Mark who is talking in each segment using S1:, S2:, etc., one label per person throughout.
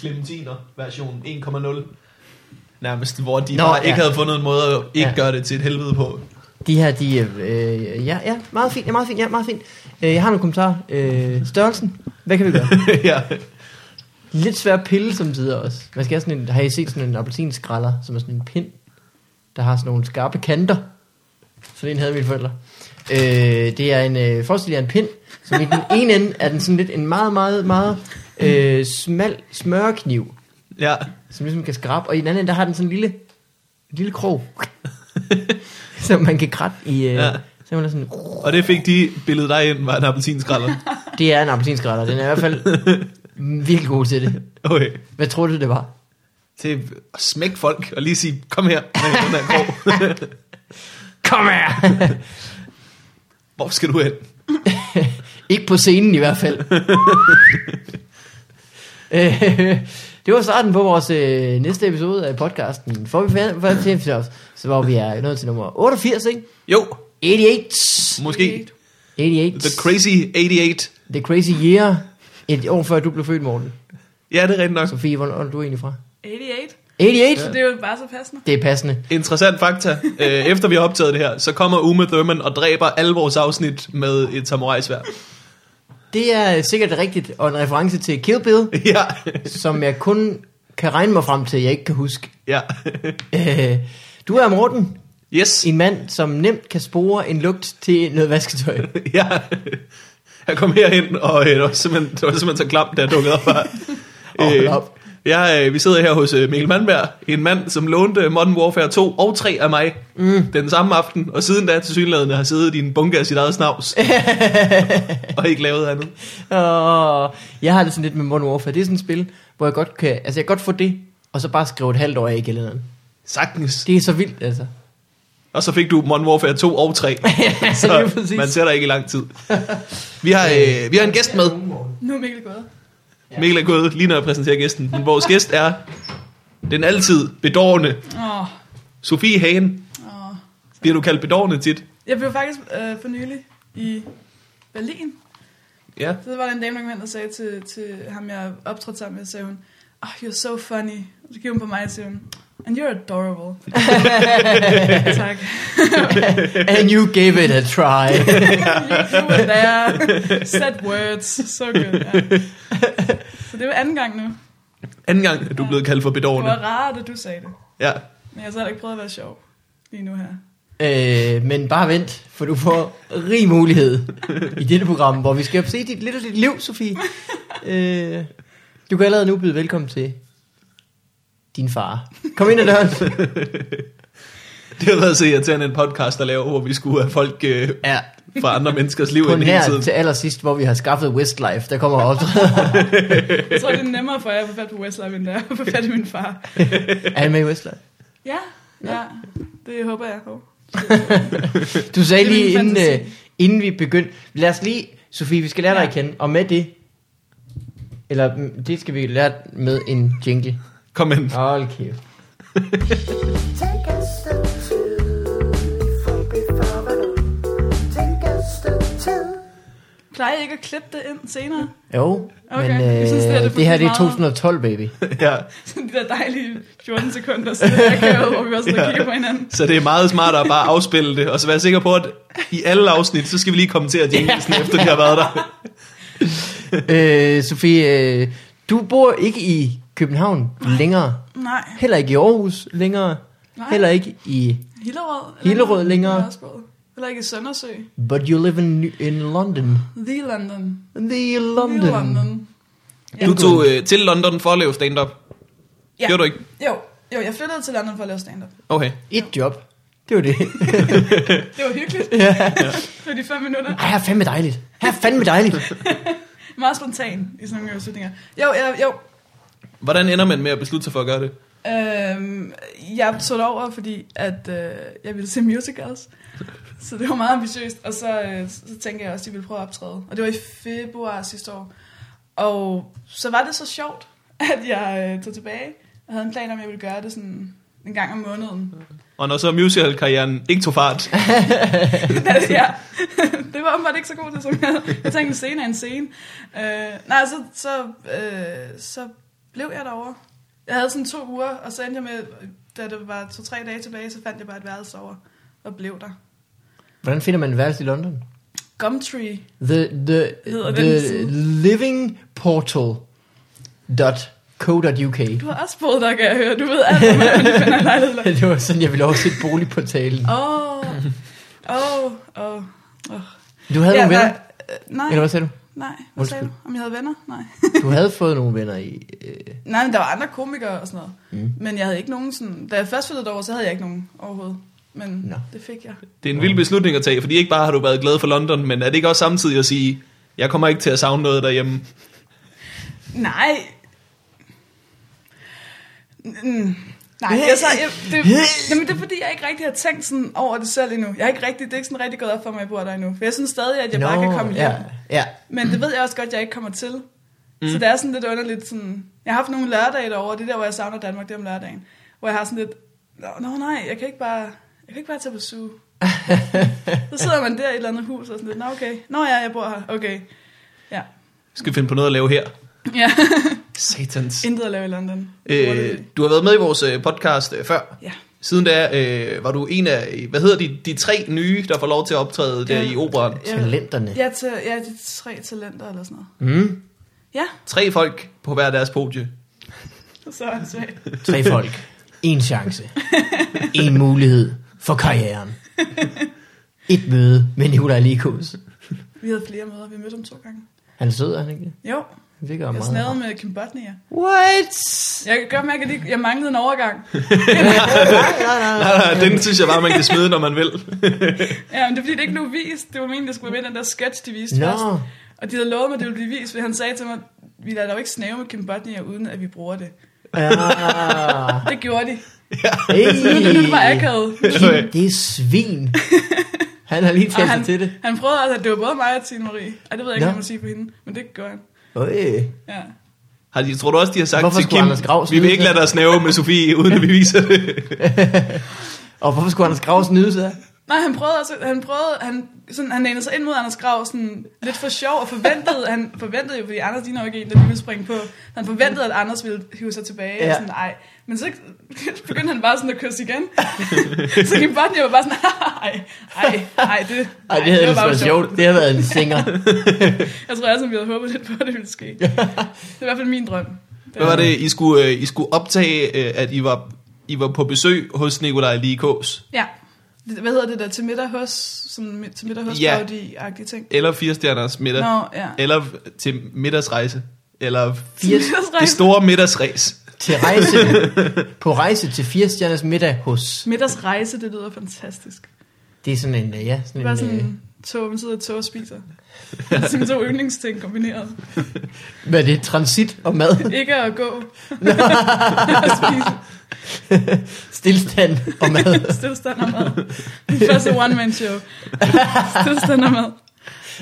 S1: Clementiner version 1.0. Nærmest, hvor de
S2: Nå,
S1: Nå, bare
S2: ja.
S1: ikke havde fundet en måde at ikke
S2: Ja.
S1: ja. gøre det til et helvede på.
S2: De her, de er, øh, ja, ja, meget fint, ja, meget fint, ja, meget fint. Øh, jeg har nogle kommentarer. Øh, størrelsen, hvad kan vi gøre?
S1: ja.
S2: Lidt svær at pille som tider også. Man skal have sådan en, har I set sådan en appelsinskralder, som er sådan en pind, der har sådan nogle skarpe kanter? Sådan en havde mine forældre. Øh, det er en, øh, forestil jer en pind, som i den ene ende er den sådan lidt en meget, meget, meget øh, smal smørkniv,
S1: ja.
S2: som ligesom kan skrabe, og i den anden ende, der har den sådan en lille, en lille krog, som man kan kratte i, øh, ja.
S1: Ja.
S2: så man er sådan,
S1: Og det fik de billedet dig ind, var en appelsinskralder.
S2: det er en appelsinskralder, den er i hvert fald virkelig god til det.
S1: Okay.
S2: Hvad tror du, det var?
S1: Til at smække folk og lige sige, kom her, med den her krog.
S2: Kom her!
S1: Hvor skal du hen?
S2: Ikke på scenen i hvert fald. Øh, det var starten på vores øh, næste episode af podcasten. For vi fandt, så hvor vi er nået til nummer 88, ikke?
S1: Jo,
S2: 88.
S1: måske.
S2: 88.
S1: The Crazy 88.
S2: The Crazy Year. Et år før du blev født, Morten.
S1: Ja, det er rigtigt nok.
S2: Sofie, hvor hvor er du egentlig fra?
S3: 88.
S2: 88?
S3: Det er jo bare så passende.
S2: Det er passende.
S1: Interessant fakta. Øh, Efter vi har optaget det her, så kommer Uma Thurman og dræber alle vores afsnit med et samurajsvær.
S2: Det er sikkert rigtigt, og en reference til Kill Bill,
S1: Ja,
S2: som jeg kun kan regne mig frem til, jeg ikke kan huske.
S1: ja.
S2: Øh, du er Morten,
S1: Yes.
S2: en mand, som nemt kan spore en lugt til noget vasketøj.
S1: Ja. Jeg kom herhen, og øh, det var simpelthen, det var simpelthen så klamt, da jeg dukkede op her. Øh,
S2: Åh, hold op.
S1: jeg, øh, vi sidder her hos øh, Mikkel Mandberg, en mand, som lånte Modern Warfare 2 og 3 af mig mm. den samme aften, og siden da til synlædende har siddet i en bunke af sit eget snavs, og ikke lavet andet.
S2: og jeg har det sådan lidt med Modern Warfare. Det er sådan et spil, hvor jeg godt kan, altså jeg kan godt få det, og så bare skrive et halvt år af i gælderen.
S1: Sagtens.
S2: Det er så vildt, altså.
S1: Og så fik du Modern Warfare 2 og 3.
S2: lige
S1: så
S2: præcis.
S1: man ser dig ikke i lang tid. Vi har, øh, vi har en gæst med.
S3: Nu er Mikkel gået.
S1: Mikkel er gået lige når jeg præsenterer gæsten. Men vores gæst er den altid bedårende
S3: Åh,
S1: Sofie Hagen.
S3: åh.
S1: Bliver du kaldt bedårende tit?
S3: Jeg blev faktisk øh, for nylig i Berlin.
S1: Ja.
S3: Så var der en dame, der kom hen og sagde til, til ham, jeg optrådte sammen med, sagde hun, oh, you're so funny. Og så kiggede hun på mig og sagde hun, and you're adorable. tak.
S2: And you gave it a try.
S3: you were there. Said words. So good. Ja. Så det var anden gang nu.
S1: Anden gang er du blevet kaldt for
S3: Det var
S1: bedårende.
S3: rart, at du sagde det.
S1: Ja.
S3: Men jeg har så heller ikke prøvet at være sjov lige nu her.
S2: øh, men bare vent, for du får rig mulighed i dette program, hvor vi skal se dit lille, lille liv, Sofie. Øh, du kan allerede nu byde velkommen til din far. Kom ind ad døren.
S1: Det har været så irriterende en podcast at lave, hvor vi skulle have folk øh,
S2: Ja,
S1: fra andre menneskers liv
S2: på
S1: ind hele
S2: nær til
S1: tiden.
S2: allersidst, hvor vi har skaffet Westlife. Der kommer op.
S3: Jeg tror, det er nemmere for jer at få fat på Westlife, end det er at få fat i min far.
S2: Er han med i Westlife?
S3: Ja, ja. Det håber jeg. Oh.
S2: Du sagde
S3: Det er min
S2: lige, inden,
S3: fantasi.
S2: øh, inden vi begyndte... Lad os lige... Sofie, vi skal lære dig
S3: Ja.
S2: at kende, og med det... Eller mm, det skal vi lære med en jingle.
S1: Kom ind.
S2: Hold kæft.
S4: Take a step two, for before Take a step two.
S3: Plejer I ikke at klippe det ind senere?
S2: Jo,
S3: Okay,
S2: men øh,
S3: jeg synes,
S2: det,
S3: det her, det er
S2: det her det er
S3: meget-
S2: 2012, baby.
S1: Ja.
S3: Sådan de der dejlige 14 sekunder, så der kan hvor vi også
S1: Ja.
S3: ja. kigger på hinanden.
S1: Så det er meget smartere at bare afspille det, og så være sikker på, at i alle afsnit, så skal vi lige kommentere jinglesen, efter de har været der.
S2: øh, Sofie, øh, du bor ikke i København længere.
S3: Nej,
S2: Heller ikke i Aarhus længere.
S3: Nej.
S2: Heller ikke i...
S3: Hillerød.
S2: Hillerød længere.
S3: Nørresbro. Heller ikke i Søndersø.
S2: But you live in, in London.
S3: The London.
S2: The
S3: The
S2: London.
S3: London.
S1: Du tog øh, til London for at lave stand-up.
S3: Ja.
S1: Gjorde du ikke?
S3: Jo, jo, jeg flyttede til London for at lave stand-up.
S1: Okay.
S2: Et job. Det var det.
S3: Det var hyggeligt. det var de fem minutter.
S2: Ej, her er fandme dejligt. Her er fandme dejligt.
S3: Meget spontan i sådan nogle beslutninger. Jo, jo, jo.
S1: Hvordan ender man med at beslutte sig for at gøre det?
S3: Øhm, jeg tog det over, fordi at, øh, jeg ville se musicals. Så det var meget ambitiøst. Og så, øh, så tænkte jeg også, at de ville prøve at optræde. Og det var i februar sidste år. Og så var det så sjovt, at jeg øh, tog tilbage. Jeg havde en plan om, at jeg ville gøre det sådan en gang om måneden.
S1: Og når så musical-karrieren ikke tog fart,
S3: det, ja. Altså, det var åbenbart ikke så godt, som jeg havde. Jeg tænkte, en scene er en scene. Øh, nej, så, så, øh, så blev jeg derovre. Jeg havde sådan to uger, og så endte jeg med, da det var to-tre dage tilbage, så fandt jeg bare et værelse over og blev der.
S2: Hvordan finder man et værelse i London?
S3: Gumtree.
S2: The, the,
S3: Hedder den
S2: the
S3: side?
S2: livingportal.co.uk
S3: Du har også boet der, kan jeg høre. Du ved alt om, hvordan man finder en lejlighed.
S2: Det var sådan, jeg ville oversætte boligportalen.
S3: Åh, åh, åh.
S2: Du havde nogle
S3: Ja,
S2: venner?
S3: der- øh, Nej,
S2: Eller hvad sagde du?
S3: nej. Hvad sagde du?
S2: Undskyld.
S3: Om jeg havde venner? Nej.
S2: Du havde fået nogle venner i... Øh,
S3: Nej, men der var andre komikere og sådan noget.
S2: Mm.
S3: Mm. Men jeg havde ikke nogen sådan... Da jeg først flyttede over, så havde jeg ikke nogen overhovedet. Men
S2: Nå.
S3: no. det fik jeg.
S1: Det er en
S2: Mm.
S1: vild beslutning at tage, fordi ikke bare har du været glad for London, men er det ikke også samtidig at sige, jeg kommer ikke til at savne noget derhjemme?
S3: Nej. Mm. Nej, jeg, så, jeg, det, jamen, det er fordi, jeg ikke rigtig har tænkt sådan over det selv endnu. Jeg har ikke rigtig, det er ikke sådan rigtig gået op for mig, at jeg bor der endnu. For jeg synes stadig, at jeg no, bare kan komme hjem.
S2: ja, ja.
S3: Men det ved jeg også godt, at jeg ikke kommer til. Mm. Så det er sådan lidt underligt sådan... Jeg har haft nogle lørdage derovre, og det er der, hvor jeg savner Danmark, det er om lørdagen. Hvor jeg har sådan lidt... Nå, nå nej, jeg kan ikke bare... Jeg kan ikke bare tage på suge. så sidder man der i et eller andet hus og sådan lidt, nå okay, nå ja, jeg bor her, okay. Ja,
S1: Skal vi finde på noget at lave her?
S3: ja.
S1: Satans.
S3: intet at lave i London.
S1: Øh, du har været med i vores øh, podcast øh, før.
S3: Ja.
S1: Siden da øh, var du en af, hvad hedder de, de tre nye, der får lov til at optræde der
S3: Ja.
S1: i operan.
S2: Talenterne.
S3: Ja, til, ja, de tre talenter eller sådan noget.
S2: Mm,
S3: Ja,
S1: Tre folk på hver deres podie.
S3: så er det svært.
S2: tre folk. En chance. En mulighed for karrieren. Et møde med Nikolaj Likos.
S3: Vi havde flere møder, vi mødte dem to gange.
S2: Han er sød, er han ikke? det?
S3: Jo,
S2: Han virker
S3: jeg
S2: meget.
S3: snadede
S2: rar.
S3: med Kim Botnia.
S2: What?
S3: Jeg kan godt mærke, at jeg- jeg manglede en overgang.
S1: Nej, nej, den synes jeg bare, man kan smide, når man vil.
S3: Ja, men det er fordi, det ikke blev vist. Det var meningen, det skulle være med i den der sketch, de viste no. først.
S2: Nå, Ah,
S3: Og de havde lovet mig, at det ville blive vist, fordi han sagde til mig, vi lader dog ikke snæve med Kim Bodnia, uden at vi bruger det.
S2: ja.
S3: Det gjorde de. Det var
S2: Hey.
S3: akavet.
S2: Kim, det er svin. Han har lige
S3: Og
S2: talt
S3: han,
S2: sig til det.
S3: han prøvede altså, at det var både mig og Tine Marie. Og det ved jeg ikke,
S2: Nå.
S3: om man sige på hende, men det gjorde han.
S2: Øj.
S3: Ja.
S1: Har de, tror du også, de har sagt
S2: Hvorfor
S1: til
S2: skulle Anders Grav
S1: Kim, vi vil
S2: smide
S1: ikke
S2: sig?
S1: lade dig snæve med Sofie, uden at vi viser det.
S2: Og hvorfor skulle Anders Grav snyde sig?
S3: Nej, han prøvede også, han prøvede, han, sådan, han lænede sig ind mod Anders Grav, sådan lidt for sjov, og forventede, han forventede jo, fordi Anders ligner jo ikke en, der lige ville springe på, han forventede, at Anders ville hive sig tilbage, ja.
S2: Ja.
S3: og sådan, nej. Men så begyndte han bare sådan at kysse igen. så Kim Bodnia var bare sådan, nej, nej, nej, det,
S2: Ej, det
S3: nej,
S2: havde
S3: var
S2: ellers
S3: bare
S2: været sjovt. Det havde været en singer.
S3: Jeg tror også, at vi havde håbet lidt på, at det ville ske. Det er i hvert fald min drøm.
S1: Hvad var det, I skulle, øh, I skulle optage, øh, at I var, I var på besøg hos Nikolaj Likås?
S3: Ja. Det- Hvad hedder det der? Til middag hos? Sådan, mi- til middag hos
S1: Ja.
S3: ja. agtige ting.
S1: Eller Firestjerners middag?
S3: Nå, ja.
S1: Eller til middagsrejse? Eller
S2: Fire,
S1: det
S3: Middagsrejse.
S1: store middagsræs?
S2: til rejse, på rejse til firestjerners middag hos.
S3: Middagsrejse, det lyder fantastisk.
S2: Det er sådan en, øh, ja, sådan
S3: Bare
S2: en, sådan...
S3: sådan tog, man sidder i et tog og spiser. Det er sådan to yndlingsting kombineret.
S2: øh, hvad er det, transit og mad,
S3: Ikke at gå. og spise
S2: stillstand og mad.
S3: stillestand og mad. Min første one-man show. Stillestand og mad.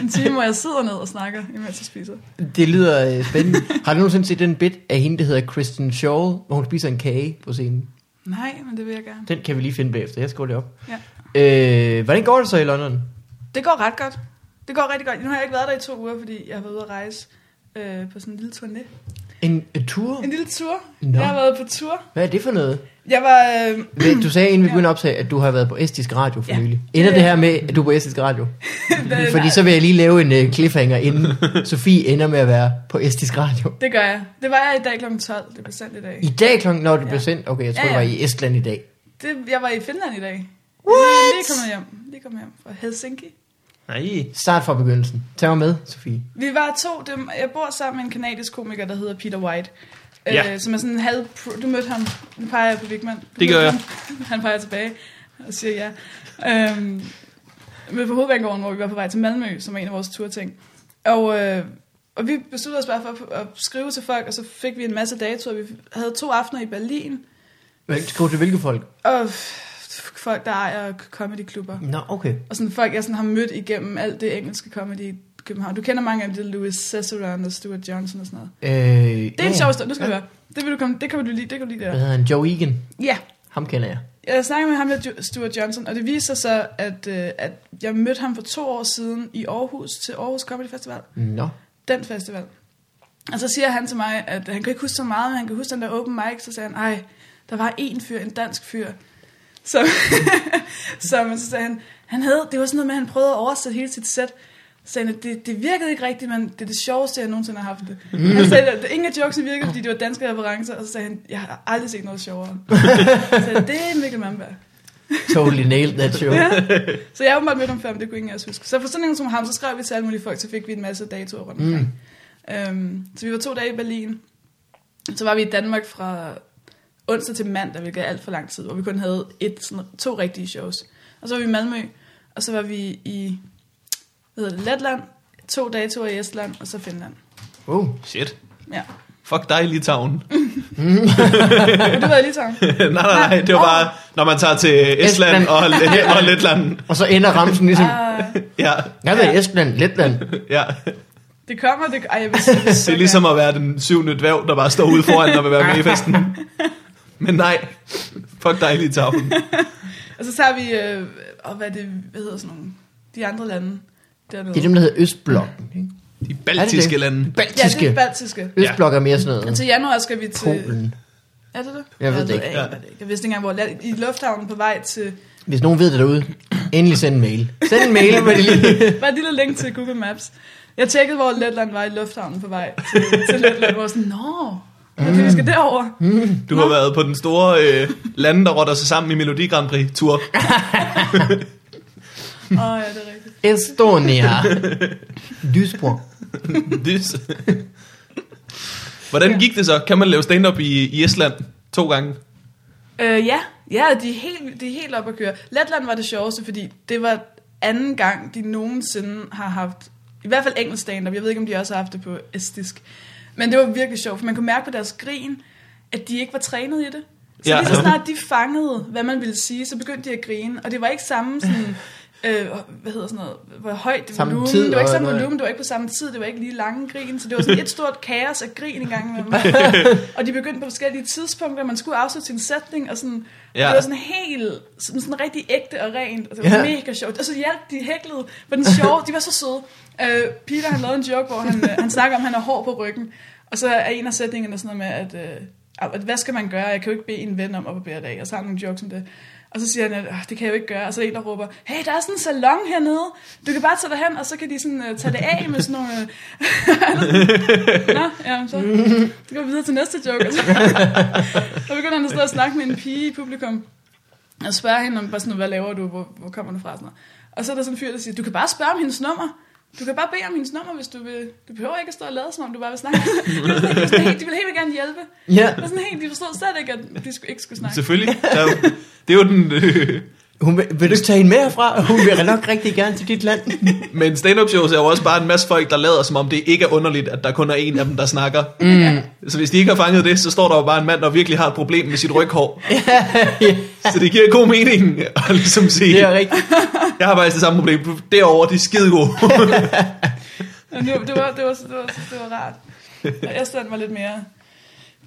S3: En time, hvor jeg sidder ned og snakker, imens jeg spiser.
S2: Det lyder øh, spændende. Har du nogensinde set den bit af hende, der hedder Kristen Shaw, hvor hun spiser en kage på scenen?
S3: Nej, men det vil jeg gerne.
S2: Den kan vi lige finde bagefter, jeg skriver det op.
S3: Ja.
S2: Øh, hvordan går det så i London?
S3: Det går ret godt. Det går rigtig godt. Nu har jeg ikke været der i to uger, fordi jeg har været ude at rejse øh, på sådan en lille turné.
S2: En, en tur?
S3: En lille tur.
S2: Nå.
S3: No. Jeg har været på tur.
S2: Hvad er det for noget?
S3: Jeg var... Øh,
S2: Hvad- Du sagde, inden vi begyndte at optage, at du har været på estisk radio for
S3: Ja.
S2: nylig. Ender det her med, at du er på estisk radio?
S3: øh,
S2: Fordi
S3: nej,
S2: så vil jeg lige lave en øh, cliffhanger, inden Sofie ender med at være på estisk radio.
S3: Det gør jeg. Det var jeg i dag kl. 12. Det blev sendt i dag.
S2: I dag klokken, når det blev
S3: Ja.
S2: sendt, okay, jeg tror
S3: Ja,
S2: det
S3: ja.
S2: var i Estland i dag.
S3: Det, jeg var i Finland i dag. What? Lige kommet hjem. Lige kommet hjem fra Helsinki.
S1: Nej.
S2: Start fra begyndelsen. Tag mig med, Sofie.
S3: Vi var to. Dem, jeg bor sammen med en kanadisk komiker, der hedder Peter White.
S1: Ja.
S3: Øh, som er sådan en halv... Pro, du mødte ham. Nu peger jeg på Vigman. Du
S1: Det gør
S3: mødte
S1: jeg.
S3: ham. Han peger tilbage og siger ja. Øhm, med på hovedbanegården, hvor vi var på vej til Malmø, som er en af vores turting. Og, øh, og vi besluttede os bare for at, at skrive til folk, og så fik vi en masse datoer. Vi havde to aftener i Berlin,
S2: Hvem- Skriv til hvilke folk?
S3: og f- folk, der ejer comedyklubber.
S2: Nå, okay.
S3: Og sådan folk, jeg sådan har mødt igennem alt det engelske comedy i København. Du kender mange af dem, det er Louis Cesaron og Stuart Johnson og sådan noget.
S2: Øh,
S3: Det er en sjov story, nu skal du høre. Det, vil du komme, det kan du lide, det kan du lide
S2: Hvad
S3: der.
S2: hedder han? Joe Egan.
S3: Ja,
S2: Ham kender jeg.
S3: jeg snakkede med ham der, Jo- Stuart Johnson, og det viste sig så, at, øh, at jeg mødte ham for to år siden i Aarhus til Aarhus Comedy Festival.
S2: Nå.
S3: Den festival. Og så siger han til mig, at han kan ikke huske så meget, men han kan huske den der open mic, så sagde han, ej, der var en fyr, en dansk fyr, som, som så sagde han, han havde, det var sådan noget med, at han prøvede at oversætte hele sit sæt, så sagde han, at det, det virkede ikke rigtigt, men det er det sjoveste, jeg nogensinde har haft det. Han sagde, at ingen af jokesene virkede, fordi det var danske referencer, og så sagde han, jeg har aldrig set noget sjovere. så det er Mikkel Malmberg.
S2: Totally nailed that show.
S3: Så jeg har åbenbart mødt ham før, men det kunne ingen af os huske. Så for sådan en som ham, så skrev vi til alle mulige folk, så fik vi en masse datoer rundt omkring. Mm. Øhm, så vi var to dage i Berlin. Så var vi i Danmark fra onsdag til mandag, hvilket er alt for lang tid, hvor vi kun havde et, sådan, to rigtige shows. Og så var vi i Malmø, og så var vi i hvad hedder det, Letland, to datoer i Estland, og så Finland.
S2: Oh,
S1: Shit.
S3: Ja.
S1: Fuck dig, Litauen.
S3: Men du var i Litauen.
S1: nej, nej, nej. Det var bare, når man tager til Estland
S2: Estland.
S1: og, og Letland.
S2: og så ender ramsen ligesom,
S3: Ah,
S1: Ja,
S2: jeg ved Estland, Letland.
S1: ja.
S3: det kommer, det Ej, jeg vil, jeg vil så
S1: Det er ligesom
S3: gerne.
S1: at være den syvende dværg, der bare står ude foran og vil være med i festen. Men nej, fuck dig, Litauen.
S3: Og så tager vi, øh, og hvad, er det, hvad hedder sådan nogle, de andre lande dernede.
S2: Det er dem, der hedder Østblokken. ikke?
S1: De
S2: Er det
S1: baltiske
S2: det?
S1: lande.
S3: Ja,
S2: Baltiske.
S3: det er Altså, baltiske.
S2: Østblok er mere sådan
S3: Men
S2: noget.
S3: til januar skal vi til...
S2: Polen.
S3: Er det det?
S2: Jeg ved det ikke.
S3: aner det ikke. Jeg vidste ikke engang, hvor land- I lufthavnen på vej til...
S2: Hvis nogen ved det derude, endelig send en mail. Send en mail med det lige.
S3: Bare et lille link til Google Maps. Jeg tjekkede, hvor Letland var i lufthavnen på vej til, til Letland. Hvor jeg sådan, nå,
S2: Mm.
S3: okay, vi skal derover.
S1: Du har været på den store øh, lande, der rotter sig sammen i Melodi Grand Prix-tur.
S3: Åh, oh, ja, det er rigtigt.
S2: Estonia. Lysbrug.
S1: This. Hvordan gik det så? Kan man lave stand-up i, i Estland to gange?
S3: Øh, ja, ja de, er helt, de er helt op at køre. Letland var det sjoveste, fordi det var anden gang, de nogensinde har haft, i hvert fald engelsk stand-up, jeg ved ikke, om de også har haft det på estisk, men det var virkelig sjovt, for man kunne mærke på deres grin, at de ikke var trænet i det. Så
S1: Ja.
S3: ja. lige så snart de fangede, hvad man ville sige, så begyndte de at grine, og det var ikke samme sådan, øh, hvad hedder sådan noget, hvor højt det var
S2: Samme
S3: volumen,
S2: tid
S3: det var ikke
S2: og
S3: samme
S2: noget.
S3: volumen, det var ikke på samme tid, det var ikke lige lange grin, så det var sådan et stort kaos af grin engang imellem. Og de begyndte på forskellige tidspunkter, man skulle afslutte sin sætning, og sådan,
S1: Ja.
S3: ja. det var sådan helt, sådan, sådan rigtig ægte og rent, og det var
S2: Ja.
S3: ja. mega sjovt. Og så hjalp de hæklede, for den sjove, de var så søde. Øh, Peter, han lavede en joke, hvor han, øh, han snakker om, at han har hår på ryggen, og så er en af sætningerne sådan noget med, at, øh, at hvad skal man gøre, jeg kan jo ikke bede en ven om at barbere dig, og så har han nogle jokes om det. Og så siger han, at "Åh, det kan jeg jo ikke gøre. Og så er der en, der råber, hey, der er sådan en salon hernede. Du kan bare tage derhen, og så kan de sådan, uh, tage det af med sådan nogle... Uh... Nå, ja, så, så går vi videre til næste joke. Og så, så begynder han at stå og snakke med en pige i publikum. Og spørger hende om, bare sådan, hvad laver du, hvor, hvor kommer du fra? Sådan noget. og så er der sådan en fyr, der siger, du kan bare spørge om hendes nummer. Du kan bare bede om hendes nummer, hvis du vil. Du behøver ikke at stå og lade, som om du bare vil snakke. de, vil sådan, helt- de, vil sådan helt- de vil helt vildt gerne hjælpe.
S2: Ja.
S3: Det er sådan helt, de forstod slet ikke, at de skulle, ikke skulle snakke.
S1: Selvfølgelig. Der er jo- Det er jo den... Øh,
S2: Hun vil, vil du ikke tage hende med herfra? Hun vil nok rigtig gerne til dit land.
S1: men stand-up shows er jo også bare en masse folk, der lader som om det ikke er underligt, at der kun er en af dem, der snakker. Mm. Så hvis de ikke har fanget det, så står der jo bare en mand, der virkelig har et problem med sit ryghår. Så det giver god mening at ligesom sige,
S2: Det er rigtigt.
S1: jeg har faktisk det samme problem. Derovre, de er skide gode.
S3: Men det, var- det, var, det, var, det, var, det var rart. Og Estland var lidt mere,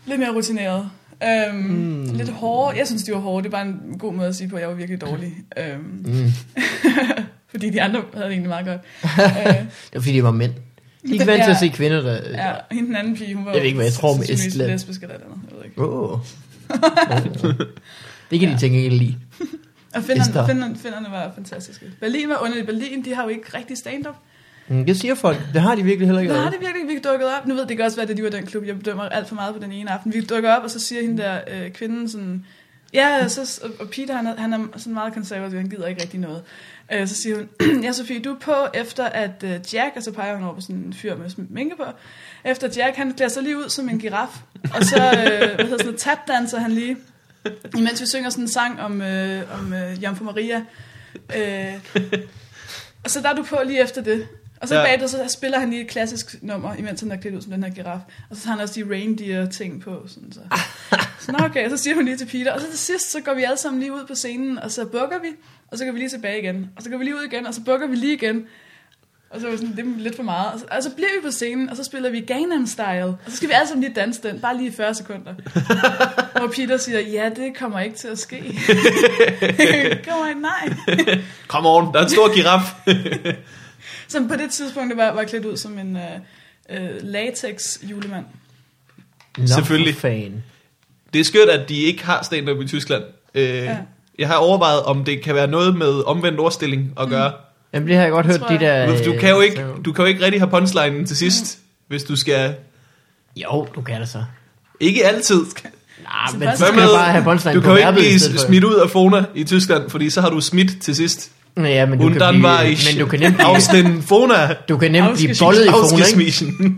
S3: lidt mere rutineret. Øhm, mm. Lidt hårde. Jeg synes, de var hårde. Det var en god måde at sige på, at jeg var virkelig dårlig. Øhm, mm. fordi de andre havde det egentlig meget godt. øh,
S2: Det var fordi, de var mænd. De er ikke vant til at se kvinder, der...
S3: ja, og hende den anden pige, hun var
S2: Jeg ved ikke, hvad jeg tror om
S3: sandsynligvis
S2: Estland.
S3: lesbisk eller et eller andet. Jeg ved ikke.
S2: Åh. Det kan de tænke ikke lide.
S3: Og Finland,
S2: Esther.
S3: Finland, finderne var fantastiske. Berlin var underligt. Berlin, de har jo ikke rigtig stand-up.
S2: Mm, Det siger folk. Det har de virkelig heller ikke.
S3: Nå, har det virkelig ikke dukket op? Nu ved det kan også være, at de var den klub, jeg bedømmer alt for meget på den ene aften. Vi dukker op, og så siger hende der øh, kvinden sådan... Ja, og så, og Peter, han er, han er sådan meget konservativ, han gider ikke rigtig noget. Øh, så siger hun, ja Sofie, du er på efter at øh, Jack, og så peger hun over på sådan en fyr med sådan en minke på, efter Jack, han klæder sig lige ud som en giraf, og så, øh, hvad hedder sådan noget, tapdanser han lige, imens vi synger sådan en sang om, øh, om øh, Jomfru Maria. Øh, og så der er du på lige efter det. Og så
S1: Ja.
S3: ja. bagefter, så spiller han lige et klassisk nummer, imens han er klædt ud som den her giraf. Og så har han også de reindeer-ting på. Sådan så. så nå okay, og så siger hun lige til Peter. Og så til sidst, så går vi alle sammen lige ud på scenen, og så bukker vi. Og så går vi lige tilbage igen. Og så går vi lige ud igen, og så bukker vi lige igen. Og så var jeg sådan, det er lidt for meget. Og så, og så bliver vi på scenen, og så spiller vi Gangnam Style. Og så skal vi alle sammen lige danse den, bare lige i 40 sekunder. Hvor Peter siger, ja, det kommer ikke til at ske. Det kommer ikke, nej.
S1: Kom on, der er en stor giraf.
S3: Som på det tidspunkt var, var klædt ud som en, øh, øh, latex julemand.
S2: Nå,
S1: Selvfølgelig.
S2: for Fan.
S1: Det er skørt, at de ikke har stand-up i Tyskland. Øh, ja.
S3: Ja.
S1: Jeg har overvejet, om det kan være noget med omvendt ordstilling
S3: Mm.
S1: at gøre.
S2: Jamen, det har jeg godt hørt,
S3: Tror
S2: de
S3: jeg.
S2: der...
S1: Mm. Du,
S2: øh,
S1: kan jo ikke,
S2: så-
S1: du kan jo ikke rigtig have punchlinen til sidst, mm. hvis du skal...
S2: Jo, du kan det så. Ikke
S1: Ikke altid.
S2: Nej,
S3: Så
S2: men
S3: først-
S2: så skal
S1: Hvad
S2: jeg
S1: med-
S2: bare have
S1: Du
S2: punchline på
S1: kan jo ikke
S2: verbet i
S1: blive
S2: stedet for.
S1: smidt ud af Fona i Tyskland, fordi så har du smidt til sidst.
S2: Nå, Ja, men du,
S1: Und
S2: kan
S1: dann
S2: blive,
S1: war ich
S2: men du kan nemt blive,
S1: aus den Fona
S2: du kan nemt blive
S3: Ausgeschmissen.
S2: bollet i Fona, ikke?
S1: ausgeschmissen.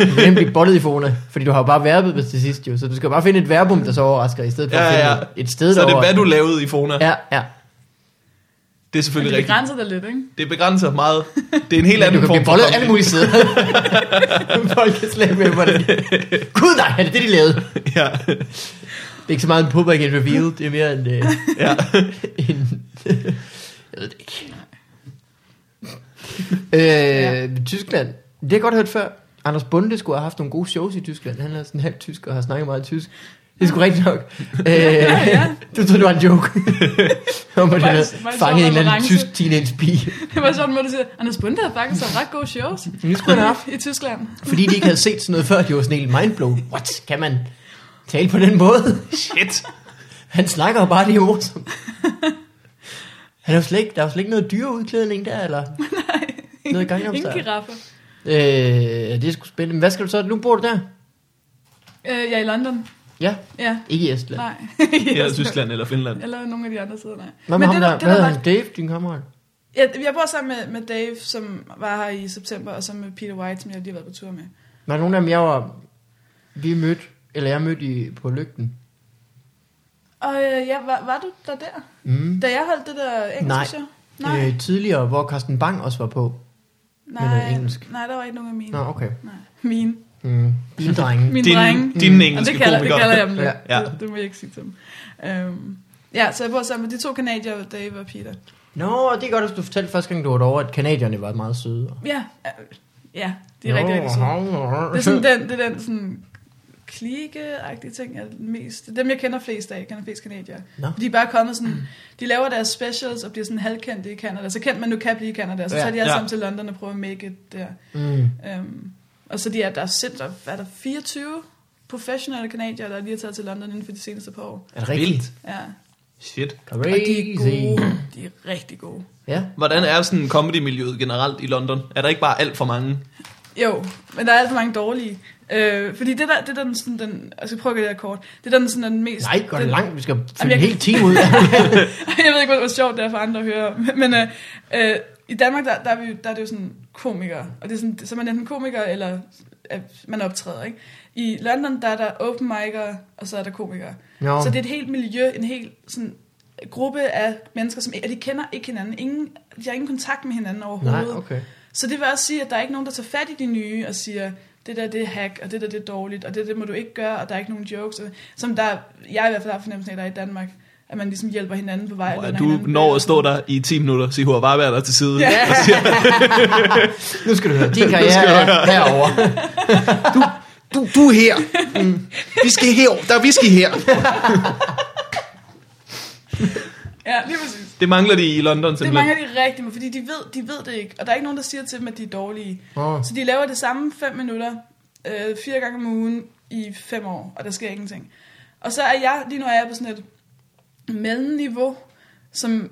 S2: Du kan nemt blive bollet i Fona, fordi du har jo bare verbet til sidst jo. Så du skal bare finde et verbum, der så overrasker, i stedet for
S1: Ja,
S2: at
S1: ja.
S2: finde et sted,
S1: Så er
S2: der
S1: det, hvad
S2: overrasker.
S1: du lavede i Fona.
S2: Ja, ja.
S1: Det er
S3: Men
S1: selvfølgelig
S3: det
S1: rigtigt.
S3: begrænser dig lidt, ikke?
S1: Det begrænser meget. Det er en helt
S2: Men du
S1: anden
S2: kan
S1: form
S2: blive
S1: for
S2: bollet
S1: comedy.
S2: alle mulige steder. Folk kan slet ikke med, hvordan... Gud nej, er det det, de lavede?
S1: Ja,
S2: Det er ikke så meget en pubrik en reveal, det er mere en... Øh,
S1: ja.
S2: en jeg ved det ikke. Øh, ja. Tyskland. Det har jeg godt hørt før. Anders Bunde skulle have haft nogle gode shows i Tyskland. Han er sådan halvt tysk og har snakket meget tysk. Det er sgu rigtigt nok. Øh,
S3: ja.
S2: Du troede, det var en joke. Om at han havde
S3: Faktisk- faktisk
S2: fanget en
S3: var
S2: eller anden
S3: reference.
S2: tysk teenage pige.
S3: Det var sådan, at du siger, Anders Bunde har faktisk haft ret gode shows
S2: Men det skulle han have haft.
S3: i Tyskland.
S2: Fordi de ikke havde set sådan noget før, de var sådan helt mindblown. What? Kan man tale på den måde?
S1: Shit.
S2: Han snakker jo bare det ord, som... Han er jo slet ikke, der er jo slet ikke noget dyreudklædning der, eller? Nej. Noget gang
S3: Ingen giraffer.
S2: Øh, det er sgu spændende. Men hvad skal du så? Nu bor du der?
S3: Øh, ja, i London.
S2: Ja,
S3: Ja,
S2: ikke i Estland.
S3: nej.
S1: Eller Tyskland eller Finland.
S3: Eller nogle af de andre sider, nej.
S2: Hvad med ham
S3: det,
S2: der?
S3: det,
S2: Hvad hedder
S3: var,
S2: han? Dave, din kammerat?
S3: jeg, jeg bor sammen med, med Dave, som var her i september, og så med Peter White, som jeg lige har været på tur med.
S2: Der er nogle af dem, jeg var... Vi mødte... Eller jeg mødte i, på lygten.
S3: Og øh, ja, var, var du der der?
S2: Mm.
S3: Da jeg holdt det der engelske
S2: Nej.
S3: show? Nej,
S2: Øh, tidligere, hvor Carsten Bang også var på.
S3: nej,
S2: engelsk.
S3: nej, der var ikke nogen af mine.
S2: Nå, okay.
S3: Nej. Mine.
S2: Mm. Din drenge.
S3: Mine drenge.
S1: Din, din
S2: Mm.
S3: Og
S1: engelske
S3: det kalder, det
S1: komiker.
S3: kalder jeg dem lidt.
S1: Ja.
S3: Ja. Det, det må jeg ikke sige til dem. Øhm, ja, så jeg bor sammen med de to kanadier, Dave og Peter.
S2: Nå, det er godt, at du fortalte første gang, du var derovre, at kanadierne var meget søde.
S3: Ja, øh, ja de er rigtig, rigtig søde. Det er sådan den, det er den sådan klike-agtige ting, jeg mest... Dem, jeg kender flest af, jeg kender flest kanadier.
S2: Nå.
S3: De er bare kommet sådan... De laver deres specials og bliver sådan halvkendte i Canada. Så kendt man nu kan blive i Canada. Så
S2: Ja.
S3: tager de alle
S1: Ja.
S3: sammen til London og prøver at make it der.
S2: Mm.
S3: Um, og så de er, der er sindssygt, hvad er der 24 professionelle kanadier, der lige er taget til London inden for de seneste par år.
S2: Er det rigtigt?
S1: Vildt.
S3: Ja.
S1: Shit.
S2: Crazy.
S3: Og de er gode. De er rigtig gode.
S2: Ja.
S1: Hvordan er sådan comedy-miljøet generelt i London? Er der ikke bare alt for mange?
S3: Jo, men der er alt for mange dårlige. Øh, fordi det der, det der den, sådan, den, jeg skal prøve at gøre det her kort, det der den, sådan, den mest...
S2: Nej, går det
S3: den-
S2: langt. Vi skal
S3: Jamen,
S2: fylde en
S3: jeg-
S2: hel time ud.
S3: jeg ved ikke, hvor sjovt det er for andre at høre om. Men øh, øh, i Danmark, der, der, er vi, jo- der er det jo sådan komikere. Og det er sådan, så er man enten komiker, eller øh, man optræder, ikke? I London, der er der open mic'ere, og så er der komikere.
S2: Nå.
S3: Så det er et helt miljø, en helt sådan, gruppe af mennesker, som og de kender ikke hinanden. Ingen, de har ingen kontakt med hinanden
S2: Nej,
S3: overhovedet.
S2: okay.
S3: Så det vil også sige, at der er ikke nogen, der tager fat i de nye og siger, det der det er hack, og det der det er dårligt, og det der må du ikke gøre, og der er ikke nogen jokes. Og- Som der, jeg i hvert fald har fornemmelsen af, der er i Danmark, at man ligesom hjælper hinanden på vej.
S1: Hvor
S3: og
S1: er
S3: lærer
S1: du
S3: hinanden
S1: når
S3: bedre.
S1: at stå der i 10 minutter og sige, hvor bare være der til side.
S3: Ja.
S2: Nu skal du høre. Din karriere er herovre.
S5: Du, du er her. Mm. Vi skal her. Der er whisky her.
S3: Ja, lige præcis.
S1: Det mangler de i London
S3: Det
S1: simpelthen.
S3: mangler de rigtig meget, fordi de ved, de ved det ikke, og der er ikke nogen, der siger til dem, at de er dårlige.
S2: Åh.
S3: Så de laver det samme 5 minutter, øh, fire gange om ugen i fem år, og der sker ingenting. Og så er jeg, lige nu er jeg på sådan et mellemniveau, som